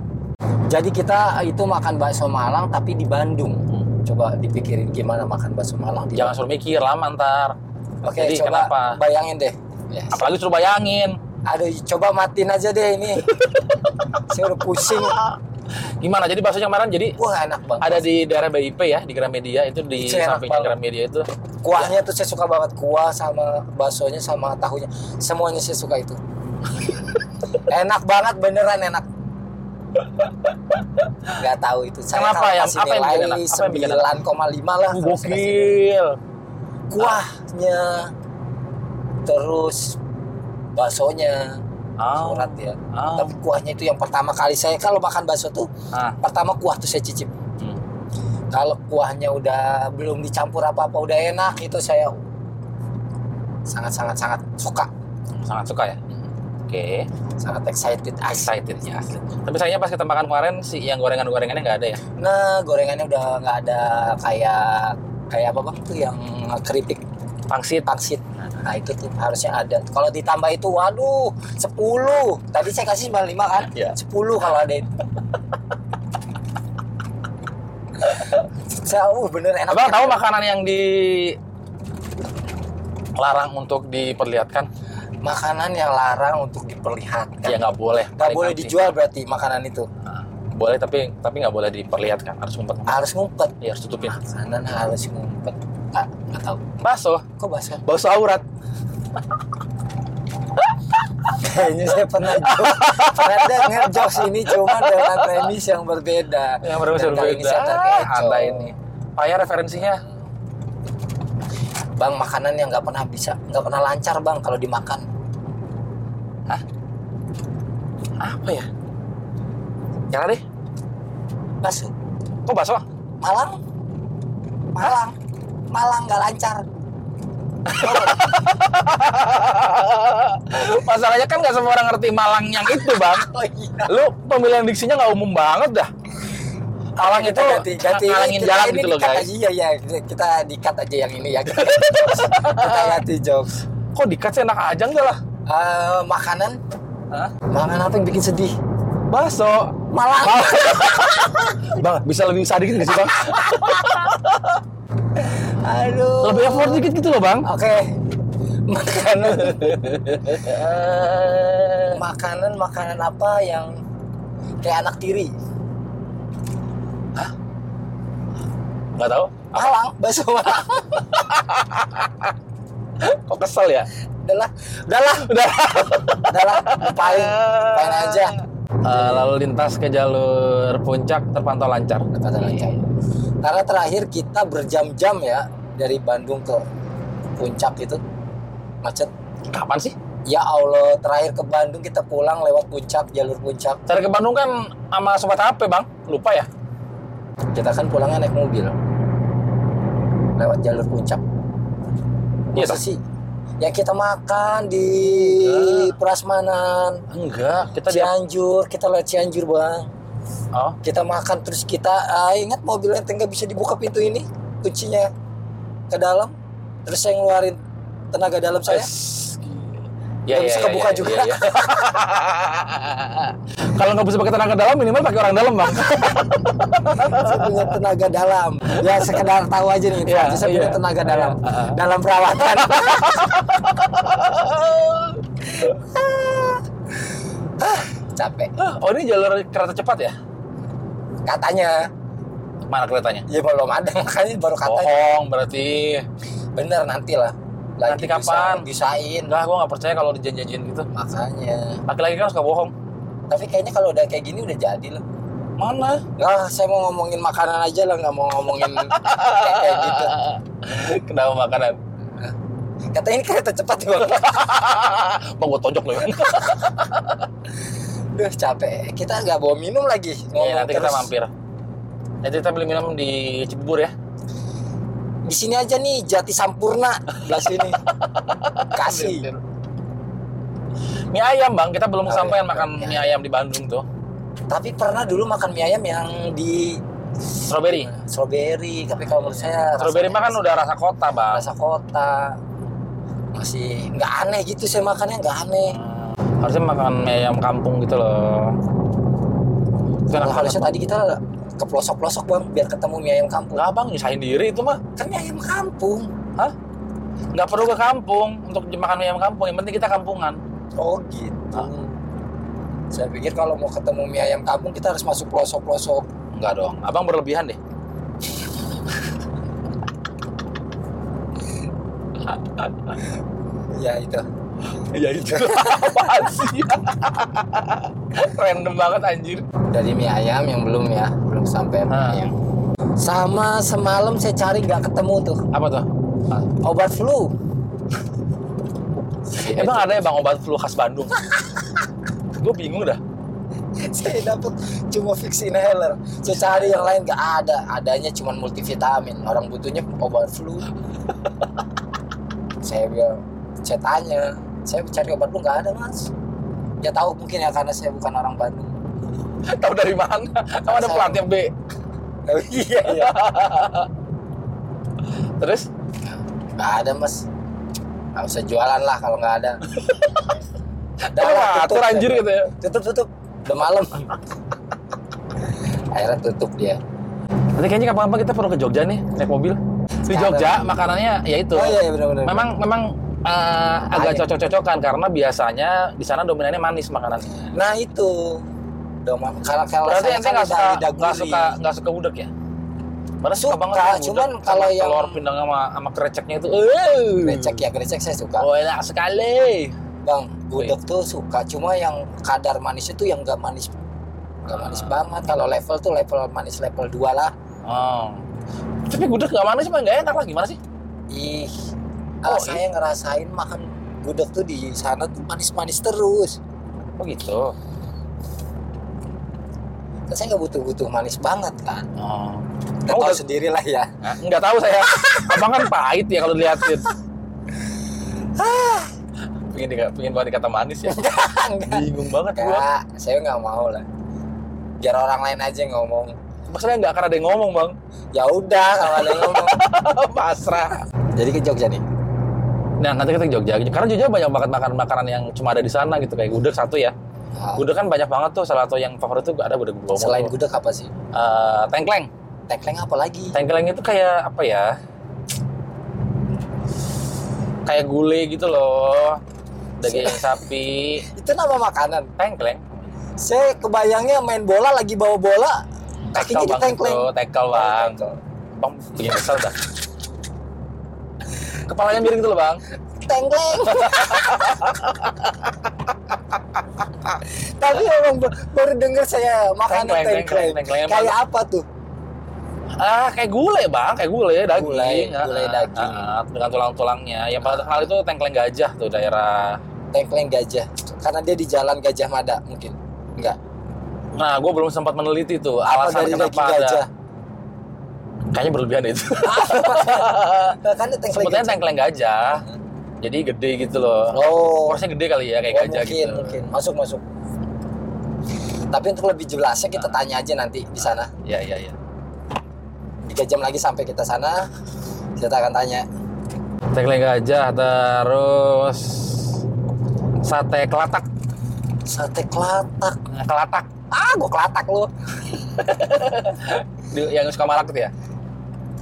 Jadi kita itu makan bakso Malang tapi di Bandung. Coba dipikirin gimana makan bakso Malang di Jangan suruh mikir, lama ntar. Oke, Jadi coba kenapa? bayangin deh. Ya, Apalagi suruh bayangin. Aduh, coba matiin aja deh ini. Saya udah pusing. Gimana? Jadi baksonya kemarin jadi Wah, enak banget. ada di daerah BIP ya, di Gramedia itu di Itu enak sampingnya banget. Gramedia itu. Kuahnya tuh saya suka banget. Kuah sama baksonya sama tahunya. Semuanya saya suka itu. enak banget, beneran enak. Gak tahu itu. Saya Kenapa kalau yang- kasih apa yang bikin nilai enak? Apa yang bikin enak? 9,5 lah. Uh, kalau saya kasih nilai. gokil. Kuahnya, terus baksonya, Ah. surat ya. Ah. Tapi kuahnya itu yang pertama kali saya kalau makan bakso tuh Ah. pertama kuah tuh saya cicip Hmm. kalau kuahnya udah belum dicampur apa-apa udah enak itu saya sangat sangat sangat suka Sangat suka ya. Oke, sangat excited asli excited ya asli. Tapi sayangnya pas kita makan kemarin sih yang gorengan-gorengannya nggak ada ya. nah gorengannya udah nggak ada kayak kayak apa bang tuh yang keripik Pangsit. pangsit nah itu tuh harusnya ada kalau ditambah itu waduh 10 tadi saya kasih 95 kan Iya. 10 kalau ada itu saya uh, bener enak Abang tahu makanan yang di larang untuk diperlihatkan? makanan yang larang untuk diperlihatkan Ya nggak boleh. Gak Paling boleh nanti. dijual berarti makanan itu. Nah, boleh tapi tapi nggak boleh diperlihatkan harus ngumpet Harus ngumpet. ya harus tutupin Makanan harus ngumpet. Ah, gak tahu. bakso Kok bakso? bakso aurat Kayaknya saya pernah jokes. pernah denger jokes ini cuma dengan premis yang berbeda. yang Ya, baru Dan kali ini berbeda saya terkecoh. anda ini payah referensinya Bang, makanan yang nggak pernah bisa, nggak pernah lancar bang kalau dimakan. apa ya nyala deh Bakso. Kok bakso? Malang. Malang. Malang nggak lancar. Masalahnya kan nggak semua orang ngerti Malang yang itu, Bang. Oh iya. Lu pemilihan diksinya nggak umum banget dah. Malang itu ganti, ganti, ngalangin kita jalan ini gitu loh, di-cut guys. aja, Iya, iya. Kita- Kita dikat aja yang ini ya. Kita ganti jokes. Kita ganti jokes. Kok dikat sih enak aja enggak lah. Eh, makanan. Hah? Makanan apa yang bikin sedih? Bakso. Malang. Bang, bisa lebih usaha dikit nggak sih, Bang? Aduh. Lebih effort dikit gitu loh, Bang. Oke. Makanan. Eh, makanan makanan apa yang kayak anak tiri? Nggak tahu. Malang, bakso Malang. Kok kesel ya? Udahlah, udahlah, Udah. udahlah. Paling, paling aja. Eh, lalu lintas ke jalur puncak terpantau lancar. Kata iya. lancar. Karena terakhir kita berjam-jam ya dari Bandung ke puncak itu macet. Kapan sih? Ya Allah, terakhir ke Bandung kita pulang lewat puncak, jalur puncak. Cari ke Bandung kan sama sobat HP, Bang. Lupa ya? Kita kan pulangnya naik mobil. Lewat jalur puncak. Iya, Masa Bang. sih? Ya kita makan di Enggak. Prasmanan, Enggak, Iya. kita di Cianjur, kita lewat Cianjur, Bang. Oh, kita makan terus kita ah, ingat mobilnya nggak bisa dibuka pintu ini kuncinya ke dalam terus saya ngeluarin tenaga dalam saya es. Nggak bisa kebuka juga. ya. Kalau nggak bisa pakai tenaga dalam minimal pakai orang dalam, Bang. saya punya tenaga dalam ya sekedar tahu aja nih Iya, saya punya iya. tenaga dalam Iya, iya. dalam perawatan Ah, capek oh, ini jalur kereta cepat ya? katanya Mana keretanya? ya belum ada makanya baru katanya Bohong berarti. bener nanti lah lagi Oh. Nanti kapan? bisa, bisain Enggak, gua nggak percaya kalau dijanjian gitu. makanya Laki-laki kan suka bohong. tapi kayaknya kalau udah kayak gini udah jadi lah Mana? Lah, Ah, saya mau ngomongin makanan aja lah, nggak mau ngomongin kayak kayak gitu. Kenapa makanan? Kata ini kereta cepat ya bang. Bang, gua tonjok lo ya. Duh, capek. Kita nggak bawa minum lagi. Iya, Ngomong nanti kita Oh, terus. mampir. Nanti kita beli minum di Cibubur ya. Di sini aja nih, Jati Sampurna. Belah sini. Kasih. Mie ayam bang, kita belum Oh, sampai iya. makan Mie mie ayam di Bandung tuh. Tapi pernah dulu makan mie ayam yang di Strawberry. strawberry. Tapi kalau menurut saya Strawberry mah kan Iya. rasanya udah rasa kota bang. rasa kota masih nggak aneh gitu saya makannya nggak aneh Harusnya makan mie ayam kampung gitu loh. Itu enak Nah, banget. harusnya tadi kita ke pelosok-pelosok bang biar ketemu mie ayam kampung Nggak bang, nyusahin diri itu mah. kan mie ayam kampung Nggak perlu ke kampung untuk makan mie ayam kampung. Yang penting kita kampungan. Oh gitu. Saya pikir kalau mau ketemu mie ayam kampung kita harus masuk pelosok-pelosok. Enggak dong, abang berlebihan deh. Ya itu. Ya Iya, itu apaan sih? Random banget anjir. Dari mie ayam yang belum ya, belum sampai mie Ah. ayam. Sama semalam saya cari nggak ketemu tuh Apa tuh? obat flu. Emang ada ya bang obat flu khas Bandung? Gue bingung dah. saya dapat cuma fix inhaler. Saya cari yang lain nggak ada. Adanya cuma multivitamin. Orang butuhnya obat flu. saya bilang, saya tanya, saya cari obat flu nggak ada mas. Ya tahu mungkin ya karena saya bukan orang Bandung. Tahu dari mana? Kamu ada Saya- pelatih yang B. Oh, iya iya. Terus? Gak ada mas. Gak usah jualan lah kalau nggak ada. Udah Kamu lah, ngatur tutup. anjir gitu ya. Tutup tutup. Udah malam. Akhirnya tutup dia. Nanti kayaknya kapan-kapan kita perlu ke Jogja nih naik mobil. Di Sekarang. Jogja makanannya ya itu. Oh iya, iya benar-benar. Memang memang eh, agak Aneh. cocok-cocokan karena biasanya di sana dominannya manis makanannya. Nah itu. Udah malam. Kalau kalau Berarti saya ente kan nggak suka lidah nggak gurih. suka nggak suka udeg ya? Padahal suka, Suka, banget sama udeg, cuman sama kalau yang- telur pindang sama sama kreceknya itu. Uh. Grecek ya grecek saya suka. Oh Iya. enak sekali. Bang, gudeg tuh suka. Cuma yang kadar manis itu yang nggak manis nggak manis Ah. banget. Kalau level tuh level manis level 2 lah. Oh. Tapi gudeg nggak manis mah nggak enak lah gimana sih? Ih, Oh, ah, saya ngerasain makan gudeg tuh di gitu. sana tuh manis-manis terus. Oh gitu. kan saya nggak butuh-butuh manis banget kan Oh. Kamu kita tahu nggak- sendiri lah ya Hah? nggak tahu saya. Abang kan pahit ya kalau dilihat. pengen di, pengen banget dikata manis ya. Bingung banget gua. Enggak, saya nggak mau lah biar orang lain aja yang ngomong Maksudnya nggak akan ada yang ngomong bang. ya udah kalau ada yang ngomong Oh, Pasrah. jadi ke Jogja nih Nah nanti kita ke Jogja. Karena Jogja banyak banget makan makanan yang cuma ada di sana gitu kayak gudeg satu ya. Ah, Gudeg kan banyak banget tuh. Salah satu yang favorit tuh ada gudeg bromo. selain gudeg apa sih Eh, tengkleng. tengkleng apa lagi Tengkleng itu kayak apa ya? Kayak gulai gitu loh. Daging sapi. itu nama makanan Tengkleng. saya kebayangnya main bola lagi bawa bola Tackle, kakinya di tengkleng Bro. Tackle bang. Bang bikin kesel dah. Kepalanya miring tuh loh bang. tengkleng tapi emang ba- baru dengar saya makanan Tengkleng, tengkleng, tengkleng, tengkleng. kayak apa tuh Ah kayak gulai bang, kayak gulai daging. Gulai, Ah, gulai daging. ah, dengan tulang-tulangnya. Yang paling terkenal itu tengkleng gajah tuh daerah. tengkleng gajah karena dia di jalan Gajah Mada mungkin enggak Nah gue belum sempat meneliti tuh apa alasan dari kenapa daging ada. gajah Kayaknya berlebihan itu. Nah, kan tengkleng Sebetulnya gajah. tengkleng gajah. Jadi gede gitu loh. oh, Porsinya gede kali ya kayak oh, gajah mungkin gitu. mungkin masuk masuk tapi untuk lebih jelasnya kita tanya aja nanti di sana Iya iya iya. tiga jam lagi sampai kita sana kita akan tanya Tengkleng gajah terus sate kelatak. sate kelatak Nah, Kelatak ah gua kelatak lu Di- yang suka malak gitu ya.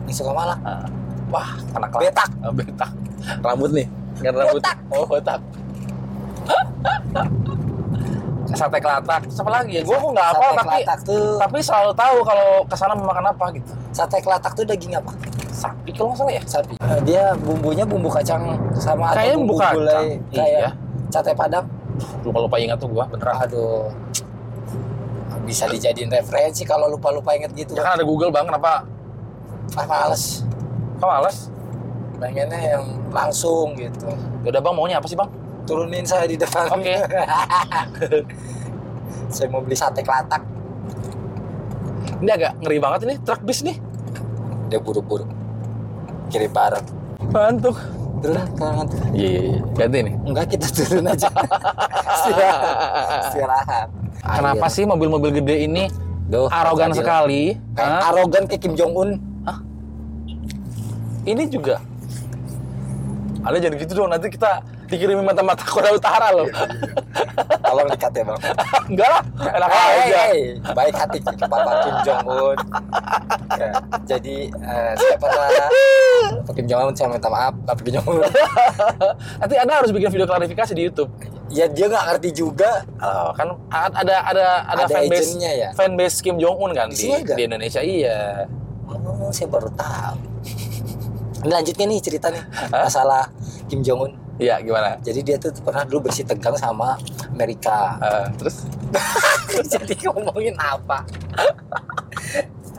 ini suka malah Ah. Wah, kena kelatak. betak Ah, Betak. Rambut nih. Enggak rambut. Botak. Oh, botak. sate kelatak. Siapa lagi ya? Gua kok enggak apa sate tapi kelatak tuh tapi selalu tahu kalau ke sana mau makan apa gitu. sate kelatak tuh daging apa Sapi kalau nggak salah ya. sapi Eh, dia bumbunya bumbu kacang sama Kayaknya atau bumbu bumbu gulai kacang. kayak Iya. sate padang Lupa-lupa ingat tuh gua beneran. aduh bisa dijadiin referensi kalau lupa-lupa inget gitu Ya kan ada Google Bang, kenapa ah males kok males? pengennya yang langsung gitu Ya udah Bang, maunya apa sih Bang? turunin saya di depan Oke. saya mau beli sate kelatak Ini agak ngeri banget ini truk bis nih. dia buru-buru kirim bareng Bantuk. turun lah, kalau ngantuk. Iya, iya, iya. ganti nih. enggak kita turun aja istirahat istirahat Kenapa sih mobil-mobil gede ini Duh, arogan Fadil. sekali? kayak Hah? arogan kayak Kim Jong Un Ini juga. Ada jangan gitu dong, nanti kita dikirimin mata-mata Korea Utara loh. tolong dikat ya bang Enggak lah, enak aja. Hey, hey, hey. baik hati ke Bapak Kim Jong Un Ya, jadi eh, saya pernah Pak Kim Jong Un saya minta maaf Pak Kim Jong Un Nanti Anda harus bikin video klarifikasi di YouTube. ya dia nggak ngerti juga Oh, kan a- ada ada ada, ada, fanbase agentnya ya fanbase Kim Jong Un kan Di di, sini ada? di Indonesia iya. oh saya baru tahu ini lanjutnya nih cerita nih masalah Kim Jong Un Iya, gimana? jadi dia tuh pernah dulu bersih tegang sama Amerika Eh, terus jadi ngomongin apa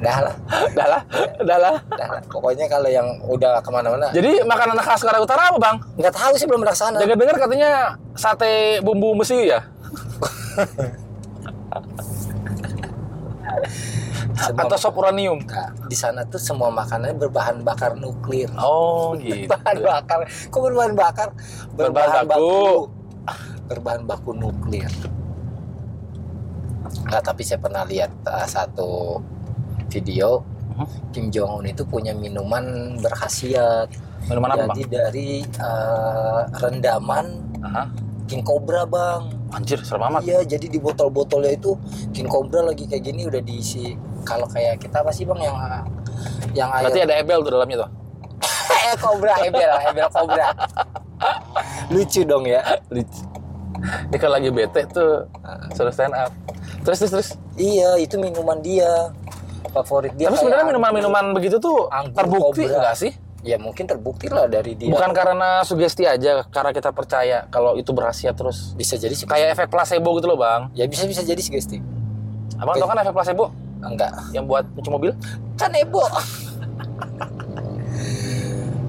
dah lah dah lah, dah lah. dah lah. pokoknya kalau yang udah kemana-mana Jadi makanan khas Korea Utara apa, Bang? nggak tahu sih belum kesana Dengar-dengar katanya sate bumbu mesiu ya? Semua- Atau sop uranium? Nah, di sana tuh semua makanannya berbahan bakar nuklir. Oh, gitu. Bahan bakar. Kok berbahan bakar? Berbahan baku. Berbahan baku nuklir. Nah, tapi saya pernah lihat uh, satu video Mhm. Kim Jong Un itu punya minuman berkhasiat. Minuman apa, Bang? Jadi dari uh, rendaman Aha. king cobra, Bang. Anjir, serem amat. Iya, jadi di botol-botolnya itu King Cobra lagi kayak gini udah diisi kalau kayak kita apa sih Bang yang yang Berarti air ada ebel tuh dalamnya tuh. eh kobra ebel, ebel kobra. Lucu dong ya. Lucu. Dia kalau kan lagi bete tuh Nah. suruh stand up. Terus terus terus. Iya, itu minuman dia. Favorit dia. Tapi kayak sebenarnya anggur. minuman-minuman begitu tuh Anggur, terbukti kobra. Iya. enggak sih? ya mungkin terbukti lah dari dia. Bukan karena sugesti aja, karena kita percaya kalau itu berhasil terus. bisa jadi sih. Kayak efek placebo gitu loh, Bang. Ya bisa bisa jadi sih guys, Ti. Abang tau kan efek placebo Enggak. yang buat cuci mobil? Kan Ebo.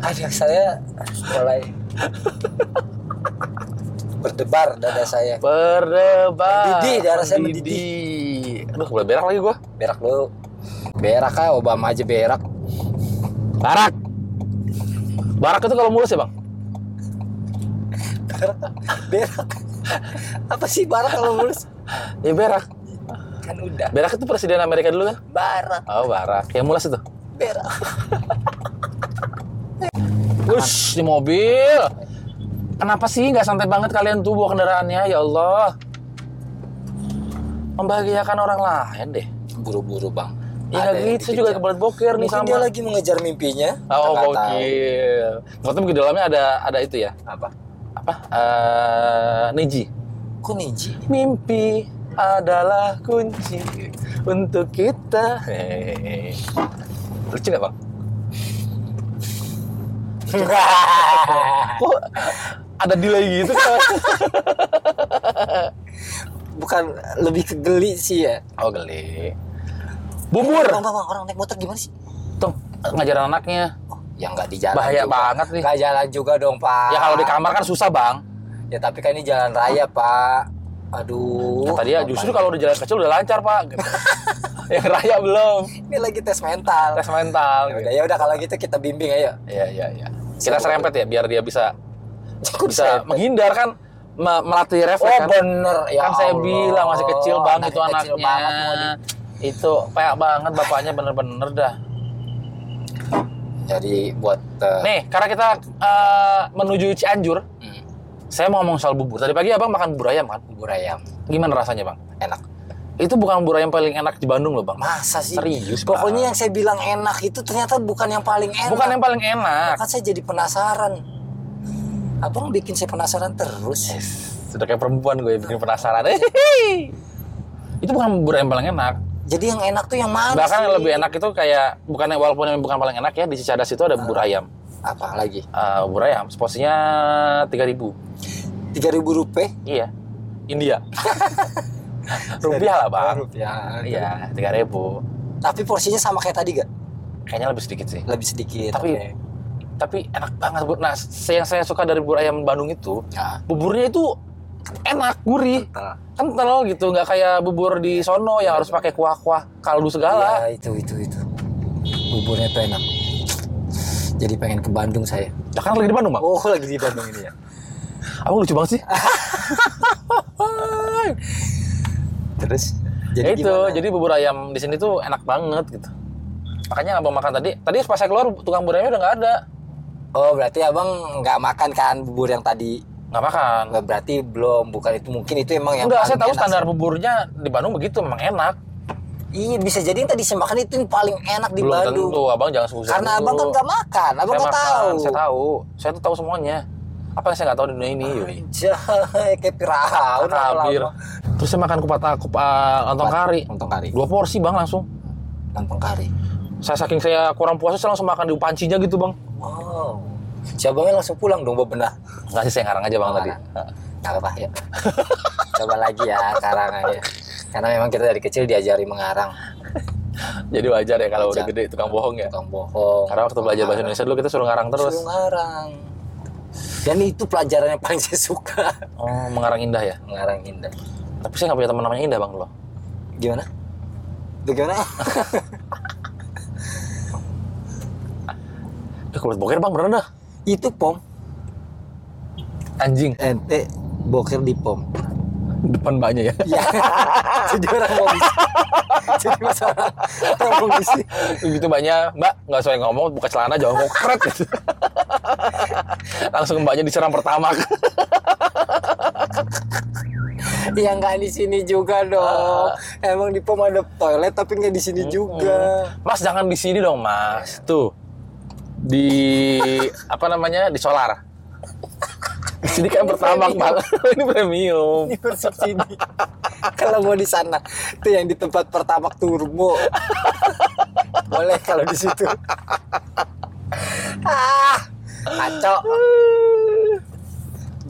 Aduh, saya mulai berdebar dada saya Berdebar. Mendidih, darah saya Aduh, kebelet berak lagi gua. berak dulu berak kah Obama aja berak Barak. Barak itu kalau mulus ya, Bang? berak berak apa sih barak kalau mulus Iya, Ya berak. kan udah Berak itu presiden Amerika dulu kan? barak Oh, barak. Yang mulas itu. berak Wush, di mobil. Kenapa sih nggak santai banget kalian tuh bawa kendaraannya? Ya Allah. Membahagiakan orang lain deh. buru-buru bang Ya nggak Ada yang gitu, saya juga dikejar. kebelet boker nih mungkin sama. dia lagi mengejar mimpinya Oh, Kita nggak tahu. gokil. Waktu mungkin di dalamnya ada ada itu ya. apa Apa? Eh, Niji. kok ninji Mimpi adalah kunci untuk kita. Hehehe. Lucu nggak bang? Kok ada delay gitu kan? bukan lebih ke geli sih ya oh geli. bang Bubur. bang, bang, orang naik motor gimana sih Tuh ngajarin anaknya. ya nggak di jalan Bahaya juga. banget nih. nggak jalan juga dong pak Ya kalau di kamar kan susah bang. ya tapi kan ini jalan raya pak aduh Kata dia Bapak. ya, justru kalau di jalan kecil udah lancar pak. Yang raya belum. ini lagi tes mental Tes mental. Ya gitu. udah ya udah kalau gitu kita bimbing ayo Iya iya iya. Kita serempet ya biar dia bisa Kok bisa serempet? menghindar kan me- melatih refleks oh kan. bener ya kan saya Allah. bilang masih kecil bang itu kecil anaknya. banget mau di- Itu payah banget bapaknya bener-bener dah. jadi buat eh, Nih, karena kita eh, menuju Cianjur, hmm, saya mau ngomong soal bubur. Tadi pagi abang makan bubur ayam kan? bubur ayam Gimana rasanya bang? enak Itu bukan bubur ayam paling enak di Bandung loh bang. masa sih Serius, Pak. pokoknya yang saya bilang enak itu ternyata bukan yang paling enak Bukan yang paling enak. kan saya jadi penasaran abang bikin saya penasaran terus Sudah kayak perempuan gue bikin penasaran. Hehehe. itu bukan bubur ayam paling enak. jadi yang enak tuh yang mana Bahkan sih? yang lebih enak itu kayak bukan walaupun yang bukan paling enak ya di Cicadas itu ada bubur ayam. apa lagi Eh, bubur ayam seporsinya 3000. tiga ribu rupiah Iya. India. Rupiah lah, Bang. rupiah Iya, 3000. tapi porsinya sama kayak tadi gak Kayaknya lebih sedikit sih. lebih sedikit Tapi- Iya, iya. oke. Tapi enak banget, Bu. Nah, se- yang saya suka dari bubur ayam Bandung itu, Nah, buburnya itu enak, gurih, kental gitu, nggak kayak bubur di sono yang harus pakai kuah-kuah kaldu segala. Iya, itu itu itu. Buburnya tuh enak. Jadi pengen ke Bandung saya. Ya kan lagi di Bandung, Bang. Oh, lagi di Bandung ini ya. Abang lucu banget sih. Terus Ya itu, jadi gimana? jadi bubur ayam di sini tuh enak banget gitu. Makanya yang abang makan tadi, tadi pas saya keluar tukang bubur ayamnya udah nggak ada, Oh, berarti Abang nggak makan kan bubur yang tadi? nggak makan. Nggak berarti belum, bukan itu mungkin itu emang yang Enggak, paling saya tahu enak. standar buburnya di Bandung begitu, memang enak. Iya, bisa jadi yang tadi saya makan itu yang paling enak di Belum Bandung. tentu, abang jangan susah Karena Abang kan nggak makan, Abang nggak tahu. Saya tahu, saya tuh tahu semuanya. Apa yang saya nggak tahu di dunia ini? Ah, Yoi? Anjay, kayak piraun Kabir. lama-lama. Terus saya makan kupat kupat lontong kari, Lontong kari. dua porsi bang langsung. Lontong kari. Saya saking saya kurang puasa, saya langsung makan di pancinya gitu bang. Wow. Si Abangnya langsung pulang dong bebenah. Nggak sih saya ngarang aja bang Oh, tadi. Gak apa-apa ya. Coba lagi ya karangannya. Karena memang kita dari kecil diajari mengarang, Jadi wajar ya kalau udah Wajar. gede tukang bohong ya. tukang bohong. Karena waktu belajar bahasa Indonesia dulu kita suruh ngarang terus. terus mengarang. Dan itu pelajaran yang paling saya suka. Oh, mengarang indah ya. Mengarang indah. Tapi saya nggak punya teman namanya indah bang loh. Gimana? Itu gimana? Eh, kulit boker bang beneran dah. itu pom. Anjing Ente boker di pom. depan mbaknya ya. Ya. Jadi orang mau bisa. Jadi masalah orang mau bisa. Begitu banyak mbak nggak sesuai ngomong buka celana jauh kokret gitu. Langsung mbaknya diserang pertama. Ya nggak di sini juga dong. Emang di pom ada toilet tapi nggak di sini juga. Mas jangan di sini dong mas. Tuh di apa namanya di solar. Di sini kan pertama premium. bang. Ini premium. ini bersubsidi kalau mau di sana itu yang di tempat pertama turbo boleh kalau di situ ah kacau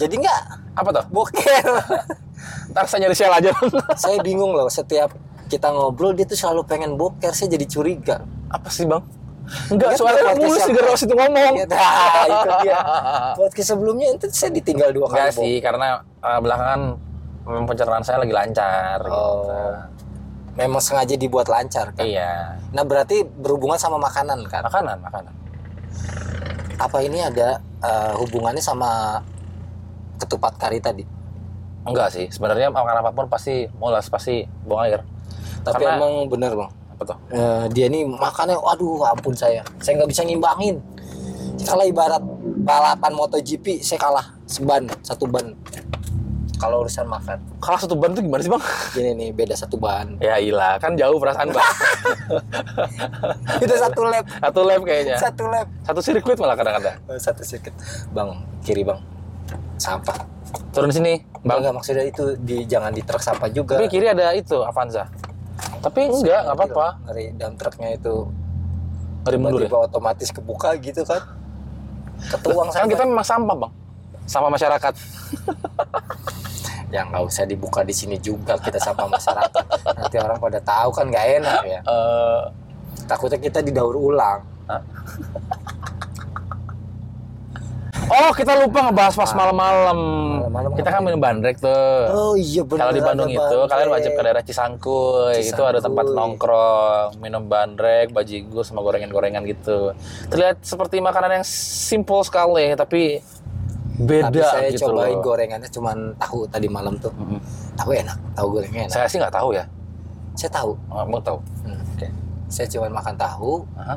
jadi nggak Apa tuh? boker Ntar saya nyari shell aja. saya bingung loh setiap kita ngobrol dia tuh selalu pengen boker saya jadi curiga apa sih bang? Enggak, Ingat soalnya nggak kan podcast mulus yang- di garasi itu ngomong. Iya, nah, itu dia. Podcast sebelumnya itu saya ditinggal dua kali. Enggak Bob. sih, karena eh, belakangan mm, pencernaan saya lagi lancar. Oh. Memang sengaja dibuat lancar kan. Gitu. Iya, Nah berarti berhubungan sama makanan kan? makanan, makanan. Apa ini ada eh, hubungannya sama ketupat kari tadi? Enggak sih, sebenarnya makan apapun pasti mulas, pasti buang air. Tapi Karena- emang bener bang. Apa tuh? Eh, dia nih makannya, aduh ampun saya, saya nggak bisa ngimbangin. Kalau ibarat balapan MotoGP, saya kalah seban satu ban. Kalau urusan makan, Kalah satu ban tuh gimana sih bang? gini nih beda satu ban. Ya ilah, kan jauh perasaan bang. Itu satu lap, Satu lab kayaknya. satu lap, Satu sirkuit malah kadang-kadang. Eh, satu sedikit. Bang kiri bang, sampah. Turun sini, Bang bang. maksudnya itu di, jangan di truk sampah juga. Tapi kiri ada itu, Avanza. Tapi enggak, enggak apa-apa. Iya, Ngeri dalam truknya itu Dari mundur ya. tiba-tiba otomatis kebuka gitu kan. Ketuang Kan sampai. kita memang sampah bang. Sampah masyarakat. Ya nggak usah dibuka di sini juga kita sama masyarakat. Nanti orang pada tahu kan nggak enak ya. Eh, Takutnya kita didaur ulang. oh kita lupa ngebahas pas malam-malam. Ah. Malam-malam Kita kan minum bandrek tuh. Oh iya benar. Kalau di Bandung itu kalian wajib ke daerah Cisangkuy. Itu ada tempat Cisangkuy. nongkrong, minum bandrek, bajigur sama gorengan-gorengan gitu. Terlihat seperti makanan yang simple sekali tapi beda Tapi saya gitu cobain loh. gorengannya cuman tahu tadi malam tuh. Mm-mm. Tahu enak, tahu gorengnya enak. Saya sih nggak tahu ya. Saya tahu. Nggak mau tahu. Hmm. Oke. Saya cuman makan tahu, Aha.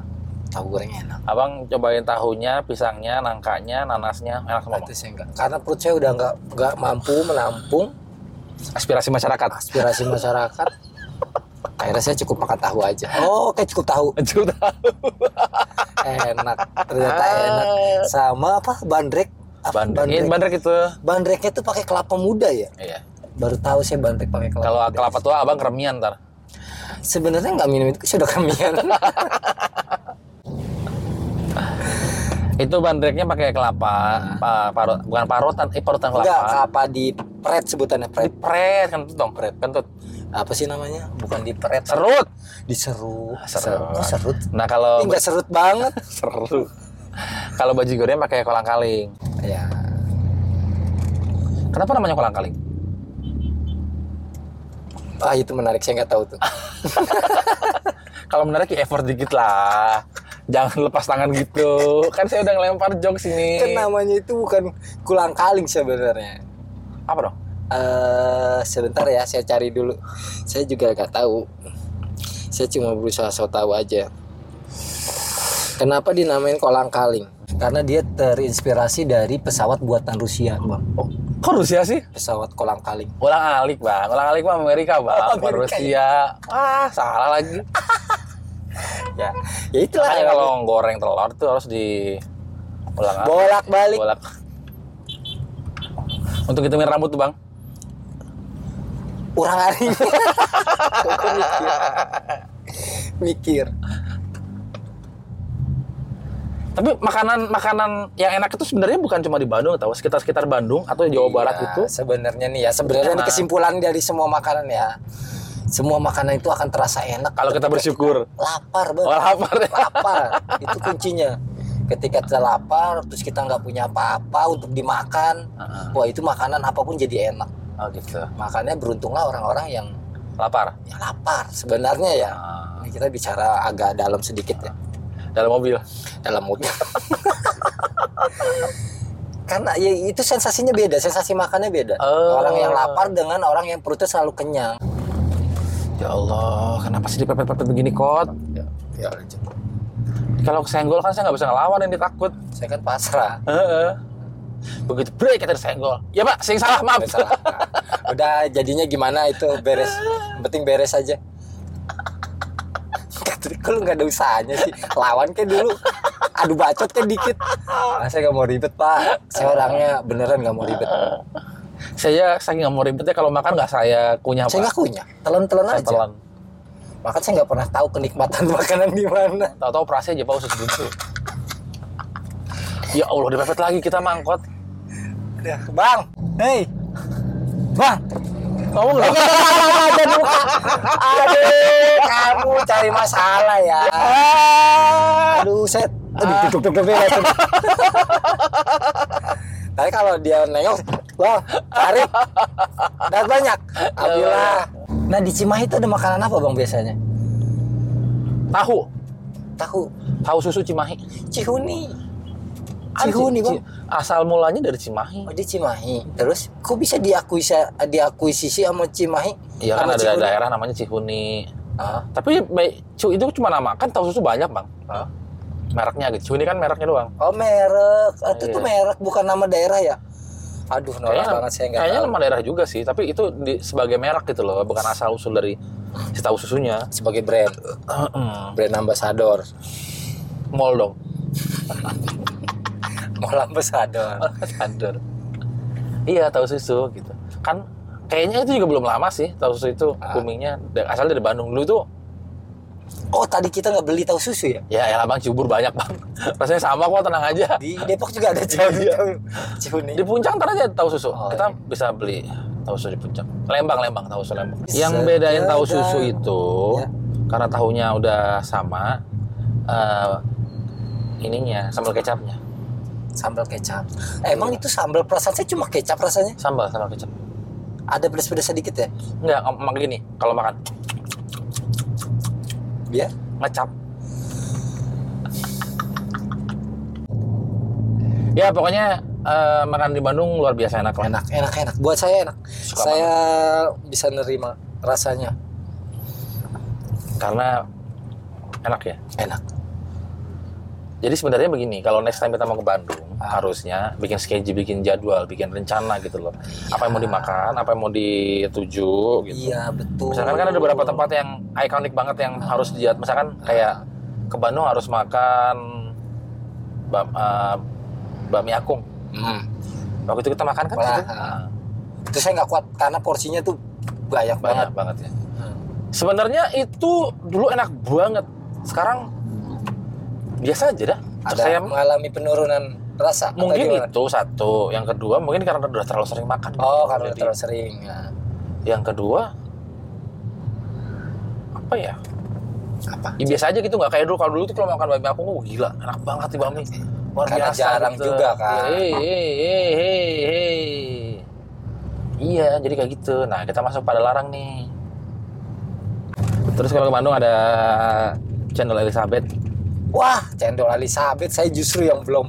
tahu gorengnya enak. Abang cobain tahunya, pisangnya, nangkanya, nanasnya, enak semua. Bang. Itu saya ya, enggak. Karena perut saya udah nggak nggak mampu menampung Aspirasi masyarakat. aspirasi masyarakat. Akhirnya saya cukup makan tahu aja. Oh, oke cukup tahu. Cukup tahu. Enak. Ternyata enak. Sama apa? Bandrek. Apa Bandrek. Iya, Ini bandrek itu. Bandreknya tuh pakai kelapa muda ya? Iya. Baru tahu saya bandrek pakai kelapa. Kalau muda. kelapa tua abang keremian ntar. Sebenarnya nggak minum itu sudah kemian. Itu bandreknya pakai kelapa, pa- parut, bukan parutan, eh parutan kelapa. Enggak, kelapa di pret sebutannya pret. Dipret, kentut dong, pret, kentut. Apa sih namanya? Bukan di pret. Serut. Diserut. Serut. Kok serut? Nah kalau Ini nggak serut banget. serut. kalau baju goreng pakai kolang kaling. ya, Kenapa namanya kolang kaling? ah itu menarik. Saya nggak tahu tuh. Kalau menarik ya effort dikit lah. Jangan lepas tangan gitu. kan saya udah ngelempar jok sini. kan namanya itu bukan kulang kaling sebenarnya. Apa dong? eh sebentar ya, saya cari dulu. Saya juga nggak tahu. Saya cuma berusaha so tahu aja. Kenapa dinamain kolang kaling? Karena dia terinspirasi dari pesawat buatan Rusia, Bang. Oh, kok Rusia sih? Pesawat kolang kaling. Ulang alik bang, ulang alik mah Amerika bang, Oh, Amerika, Bukan Rusia. Ah salah lagi. Ya, ya itulah. Makanya kalau goreng telur tuh harus di ulang ah, alik. bolak-balik. Bolak. Untuk hitungin rambut tuh bang. Urang aring. Aku mikir. mikir. Tapi makanan makanan yang enak itu sebenarnya bukan cuma di Bandung atau sekitar sekitar Bandung atau Jawa Barat Iya, itu. Sebenarnya nih ya, sebenarnya ini Enak. kesimpulan dari semua makanan ya. Semua makanan itu akan terasa enak Kalau kita bersyukur, lapar Bang. oh lapar ya. lapar itu kuncinya ketika kita lapar terus kita nggak punya apa-apa untuk dimakan wah itu makanan apapun jadi enak Oh gitu. makanya beruntunglah orang-orang yang Lapar. yang lapar sebenarnya ya Ah, ini kita bicara agak dalam sedikit ya dalam mobil. dalam mobil karena ya itu sensasinya beda sensasi makannya beda Oh. orang yang lapar dengan orang yang perutnya selalu kenyang Ya Allah, kenapa sih dipepet-pepet begini kot? ya lanjut. Kalau kesenggol kan saya nggak bisa ngelawan ini takut. saya kan pasrah Heeh. Begitu break kita disenggol. Ya pak, sing salah maaf. Nggak kan salah. Nah, udah jadinya gimana itu beres Yang penting beres aja Katri, kok lu nggak ada usahanya sih lawan kayak dulu adu bacot kayak dikit ah, saya nggak mau ribet pak saya orangnya beneran nggak mau ribet Saya saking nggak mau ribetnya kalau makan nggak saya kunyah saya pak. nggak kunyah telan-telan Saya aja telan. Makan saya nggak pernah tahu kenikmatan makanan di mana Tahu-tahu perasnya aja pak usus buntu. ya Allah dipepet lagi kita mangkot. bang hey bang Ngomong dong. Aduh, kamu cari masalah ya. Aduh, set. Ah. Aduh, duduk duduk duduk. duduk. Tapi kalau dia nengok, wah, tarik. Dan banyak. Iya, Alhamdulillah. Nah, di Cimahi itu ada makanan apa bang biasanya? Tahu. Tahu. Tahu susu Cimahi. Cihuni. Ada Ci- Cihuni bang. Ci- Asal mulanya dari Cimahi. Oh, di Cimahi. Terus, kok bisa diakuisisi diakuisisi sama Cimahi? Iya kan Sama ada Cihuni? daerah namanya Cihuni. Ah, Tapi baik cu itu cuma nama kan tahu susu banyak bang. ah. Mereknya gitu. Cihuni kan mereknya doang. Oh merek, Ah, itu Iya. tuh merek bukan nama daerah ya? Aduh norak Kayaknya- banget saya nggak Kayaknya tahu. nama daerah juga sih. Tapi itu di- sebagai merek gitu loh, bukan asal usul dari si tahu susunya. Sebagai brand, brand ambassador, Mall dong. mall ambassador. Sadar. Iya tahu susu gitu. Kan kayaknya itu juga belum lama sih tahu susu itu Ah. boomingnya Da- asal dari Bandung dulu tuh Oh tadi kita nggak beli tahu susu ya? ya elah bang cibubur banyak bang rasanya sama kok tenang aja Di Depok juga ada cihuni. Iya. cihuni. di puncak ntar aja tahu susu Oh, kita iya. bisa beli tahu susu di puncak lembang lembang tahu susu lembang Bisa yang bedain tahu jaga. susu itu Ya. karena tahunya udah sama eh, ininya sambal kecapnya Sambal kecap. Eh, emang Iya. itu sambal perasaan saya cuma kecap rasanya? sambal sambal kecap Ada pedas-pedas sedikit ya? enggak makan gini kalau makan Biar. ngecap ya pokoknya eh, makan di Bandung luar biasa enak lah Enak, enak, enak. Buat saya enak. Suka saya bisa nerima rasanya. karena enak ya Enak. Jadi sebenarnya begini, kalau next time kita mau ke Bandung, harusnya bikin schedule, bikin jadwal, bikin rencana gitu loh. Apa yang mau dimakan, apa yang mau dituju gitu. Iya betul. Misalkan kan ada beberapa tempat yang ikonik banget yang harus dilihat. Misalkan kayak ke Bandung harus makan bam, eh, bakmi akung. Hmm. Waktu itu kita makan kan Wah. gitu. Ah, Terus saya nggak kuat karena porsinya tuh banyak banget. Hmm. banyak banget ya. Sebenarnya itu dulu enak banget. Sekarang biasa aja dah. ada Saya mengalami penurunan rasa atau mungkin ya. gimana? itu satu yang kedua mungkin karena udah terlalu sering makan oh karena Jadi, terlalu sering ya. yang kedua apa ya apa ya biasa aja gitu nggak kayak dulu kalau dulu tuh kalau makan bakmi aku oh, gila enak banget nih bakmi luar gitu. Iya, Karena jarang juga, kan. hei hei hei hei hei iya jadi kayak gitu nah kita masuk pada larang nih terus kalau ke Bandung ada channel Elizabeth wah cendol Elizabeth saya justru yang belum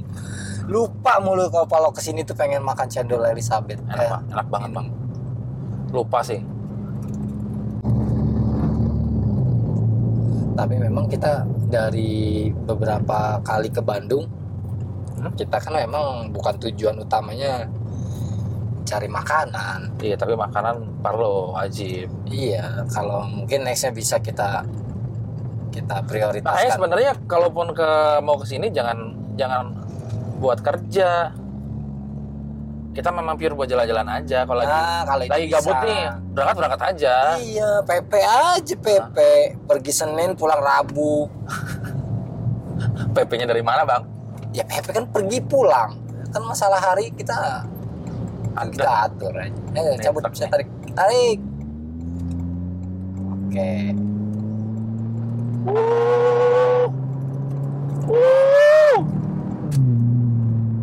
lupa mulu kalau kalau kesini tuh pengen makan cendol Elizabeth enak Eh, Pak. enak banget bang lupa sih tapi memang kita dari beberapa kali ke Bandung Hmm? kita kan memang bukan tujuan utamanya cari makanan iya tapi makanan perlu wajib iya kalau mungkin nextnya bisa kita Makanya kita prioritaskan Nah, ya sebenarnya kalaupun ke mau ke sini jangan jangan buat kerja. Kita memang pure buat jalan-jalan aja kalau lagi Nah, kalau itu lagi gabut bisa. nih. Berangkat berangkat aja. Iya, PP aja PP. Pergi Senin pulang Rabu. PP-nya dari mana, Bang? Ya PP kan pergi pulang. Kan masalah hari kita ah, Ada. kita atur aja. Eh, Nih, cabut truk bisa nih. tarik. Tarik. Oke.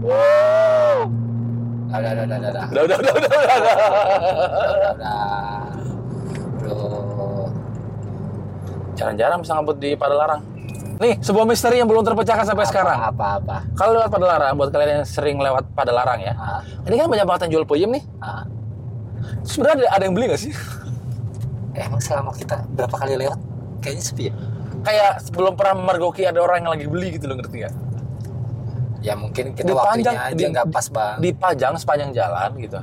Uhuh. Uhuh. Udah, udah, udah, udah, udah. Udah udah udah udah. udah, udah. Udah, udah. Uhuh. Aduh. Jarang-jarang bisa ngebut di Padalarang. Nih, sebuah misteri yang belum terpecahkan sampai Apa, sekarang. Apa, apa. Kalau lewat Padalarang, buat kalian yang sering lewat Padalarang ya. Ah, Ini kan banyak banget yang jual puyem nih. ah. Sebenarnya ada, ada yang beli nggak sih? Eh, Emang selama kita berapa kali lewat? Kayaknya sepi ya? Kayak belum pernah mergoki ada orang yang lagi beli gitu loh, ngerti nggak? Ya mungkin kita Dipanjang, waktunya aja di- nggak pas bang. dipajang sepanjang jalan gitu.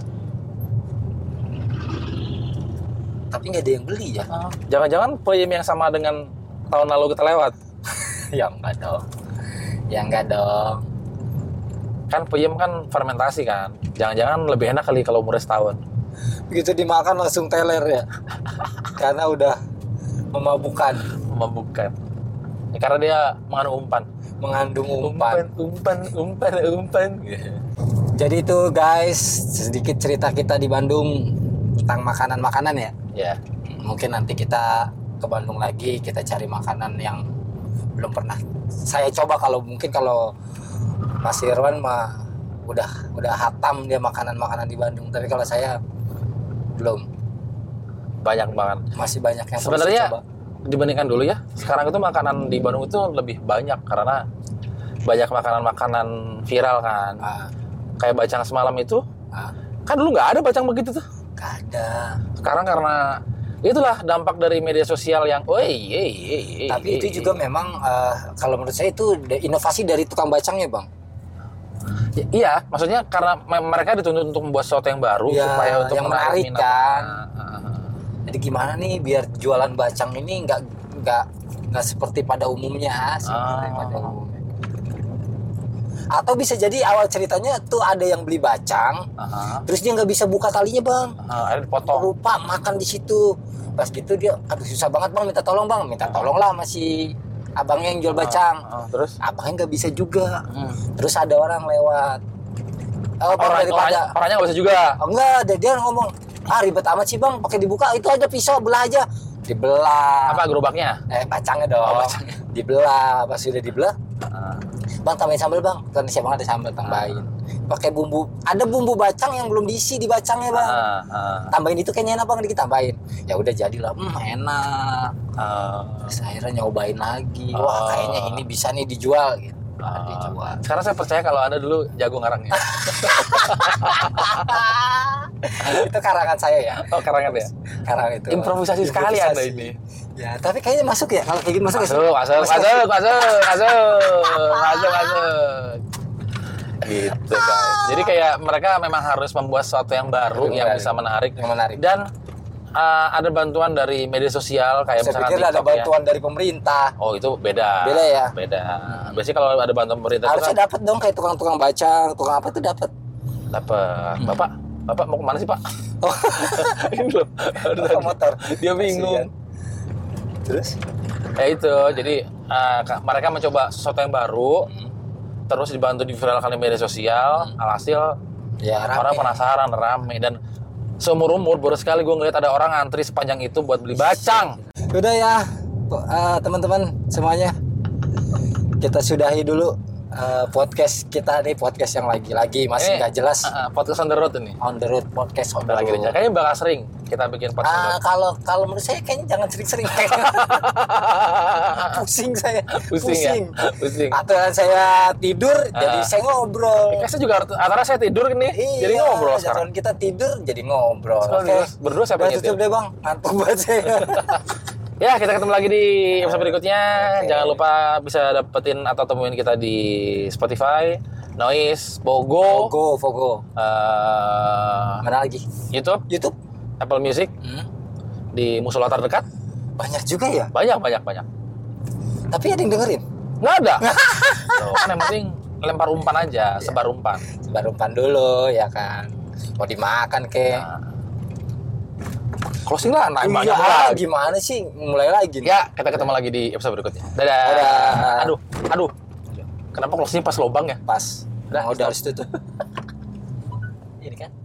Tapi nggak ada yang beli ya? Jangan-jangan peyem yang sama dengan tahun lalu kita lewat. ya nggak dong. Ya nggak dong. Kan peyem kan fermentasi kan. Jangan-jangan lebih enak kali kalau umurnya setahun. Begitu Gitu dimakan langsung teler ya. Karena udah memabukan, Membukan. Ya, karena dia mengandung umpan. mengandung umpan. umpan, umpan, umpan. Gitu. Jadi itu guys, sedikit cerita kita di Bandung. tentang makanan-makanan ya. Ya. Mungkin nanti kita ke Bandung lagi, kita cari makanan yang belum pernah saya coba kalau mungkin kalau Mas Irwan mah udah udah hatam dia makanan-makanan di Bandung, tapi kalau saya belum Banyak banget. masih banyak yang perlu Sebenarnya- saya coba. Dibandingkan dulu ya. Sekarang itu makanan di Bandung itu lebih banyak karena banyak makanan-makanan viral kan. Ah, Kayak bacang semalam itu ah, kan dulu nggak ada bacang begitu tuh. nggak ada. Sekarang karena itulah dampak dari media sosial yang, woi, yey, yey, yey, Tapi yey, itu yey." juga memang eh, kalau menurut saya itu de- inovasi dari tukang bacangnya bang. Ya, iya, maksudnya karena me- mereka dituntut untuk membuat sesuatu yang baru Iya, supaya untuk yang menarik, menarik minat. kan. Ah, ah, ah. Jadi gimana nih biar jualan bacang ini nggak nggak nggak seperti pada umumnya seperti Ah. pada umumnya. Atau bisa jadi awal ceritanya tuh ada yang beli bacang, Ah, ah. terus dia nggak bisa buka talinya bang, Ah, akhirnya dipotong. lupa makan di situ. Pas gitu dia, aduh susah banget bang, minta tolong bang, minta tolong lah masih abangnya yang jual bacang. Ah, ah, terus Abangnya nggak bisa juga. Hmm. Terus ada orang lewat. Oh, bang, orang daripada orangnya, orangnya nggak bisa juga. Oh, enggak, dia, dia ngomong, ah ribet amat sih bang, pakai dibuka, itu aja pisau, belah aja. Dibelah. Apa gerobaknya? Eh, bacangnya dong. Oh, bacangnya. Dibelah, pas sudah dibelah, Ah, bang tambahin sambal bang. Kan siapa ada sambal tambahin. Pakai bumbu, ada bumbu bacang yang belum diisi di bacangnya bang. ah, ah, Tambahin itu kayaknya enak bang, dikit tambahin. Ya udah jadilah, hmm enak. ah, Terus akhirnya nyobain lagi, Ah. wah kayaknya ini bisa nih dijual gitu. ah. Dijual. Sekarang saya percaya kalau anda dulu jago ngarangnya. itu karangan saya ya, Oh, karangan ya. karangan itu. Improvisasi sekali anda Improvisasi. ini. Ya, tapi kayaknya masuk ya, kalau kayak gini masuk, ya? Masuk, masuk, Masuk. masuk, masuk, masuk, masuk, masuk. Gitu guys. Jadi kayak mereka memang harus membuat sesuatu yang baru Yang yang menarik. bisa menarik yang menarik. dan uh, ada bantuan dari media sosial kayak Saya misalkan pikir ada TikTok ya. bantuan dari pemerintah. Oh itu beda. Beda ya? Beda. Biasanya kalau ada bantuan pemerintah itu kan Harusnya dapat dong kayak tukang-tukang bacang, tukang apa tuh dapat. dapat. Hmm. Bapak, bapak mau kemana sih pak? Oh. Ini loh. Aduh, Tukang motor. Dia bingung. Terus? Ya itu. Jadi uh, ka- mereka mencoba sesuatu yang baru, Hmm. terus dibantu di viralkan di media sosial. Alhasil Ya, orang Hmm. rame. penasaran, rame dan seumur umur baru sekali gue ngeliat ada orang antri sepanjang itu buat beli bacang. Udah ya, eh, teman-teman semuanya. Kita sudahi dulu eh, podcast kita nih, podcast yang lagi-lagi Ini, masih nggak jelas. Ah, ah, podcast on the road ini. On the road podcast on the Lagi road. Kayaknya bakal sering kita bikin podcast. on the Ah, road. kalau kalau menurut saya kayaknya jangan sering-sering. Ah. Pusing saya. Pusing, ya? Pusing. Atau saya tidur, jadi Ah. saya ngobrol. Kayaknya saya juga harus- antara saya tidur nih, Iya, jadi ngobrol sekarang. jadwal kita tidur jadi ngobrol. Sekarang Oke. berdua, berdua siapa Udah yang tutup nyetir? deh bang, ngantuk banget saya. Ya, kita ketemu lagi di episode berikutnya. Oke. Jangan lupa bisa dapetin atau temuin kita di Spotify, Noise, Pogo, Fogo, Fogo. eh, Mana lagi? YouTube, YouTube? Hmm? Apple Music, di musola terdekat. Banyak juga ya. Banyak, banyak, banyak. Tapi ada yang dengerin. Nggak ada. Tuh, kan yang penting lempar umpan aja, sebar umpan. Sebar umpan dulu ya kan. Mau dimakan ke. Nah. Closing lah, nah, banyak Iya, lagi. gimana sih? Mulai lagi nih. Ya, kita ketemu lagi di episode berikutnya. Dadah. Dadah. Aduh, aduh. Kenapa closing pas lobang ya? Pas. Udah, Nah, udah harus tutup. Ini kan.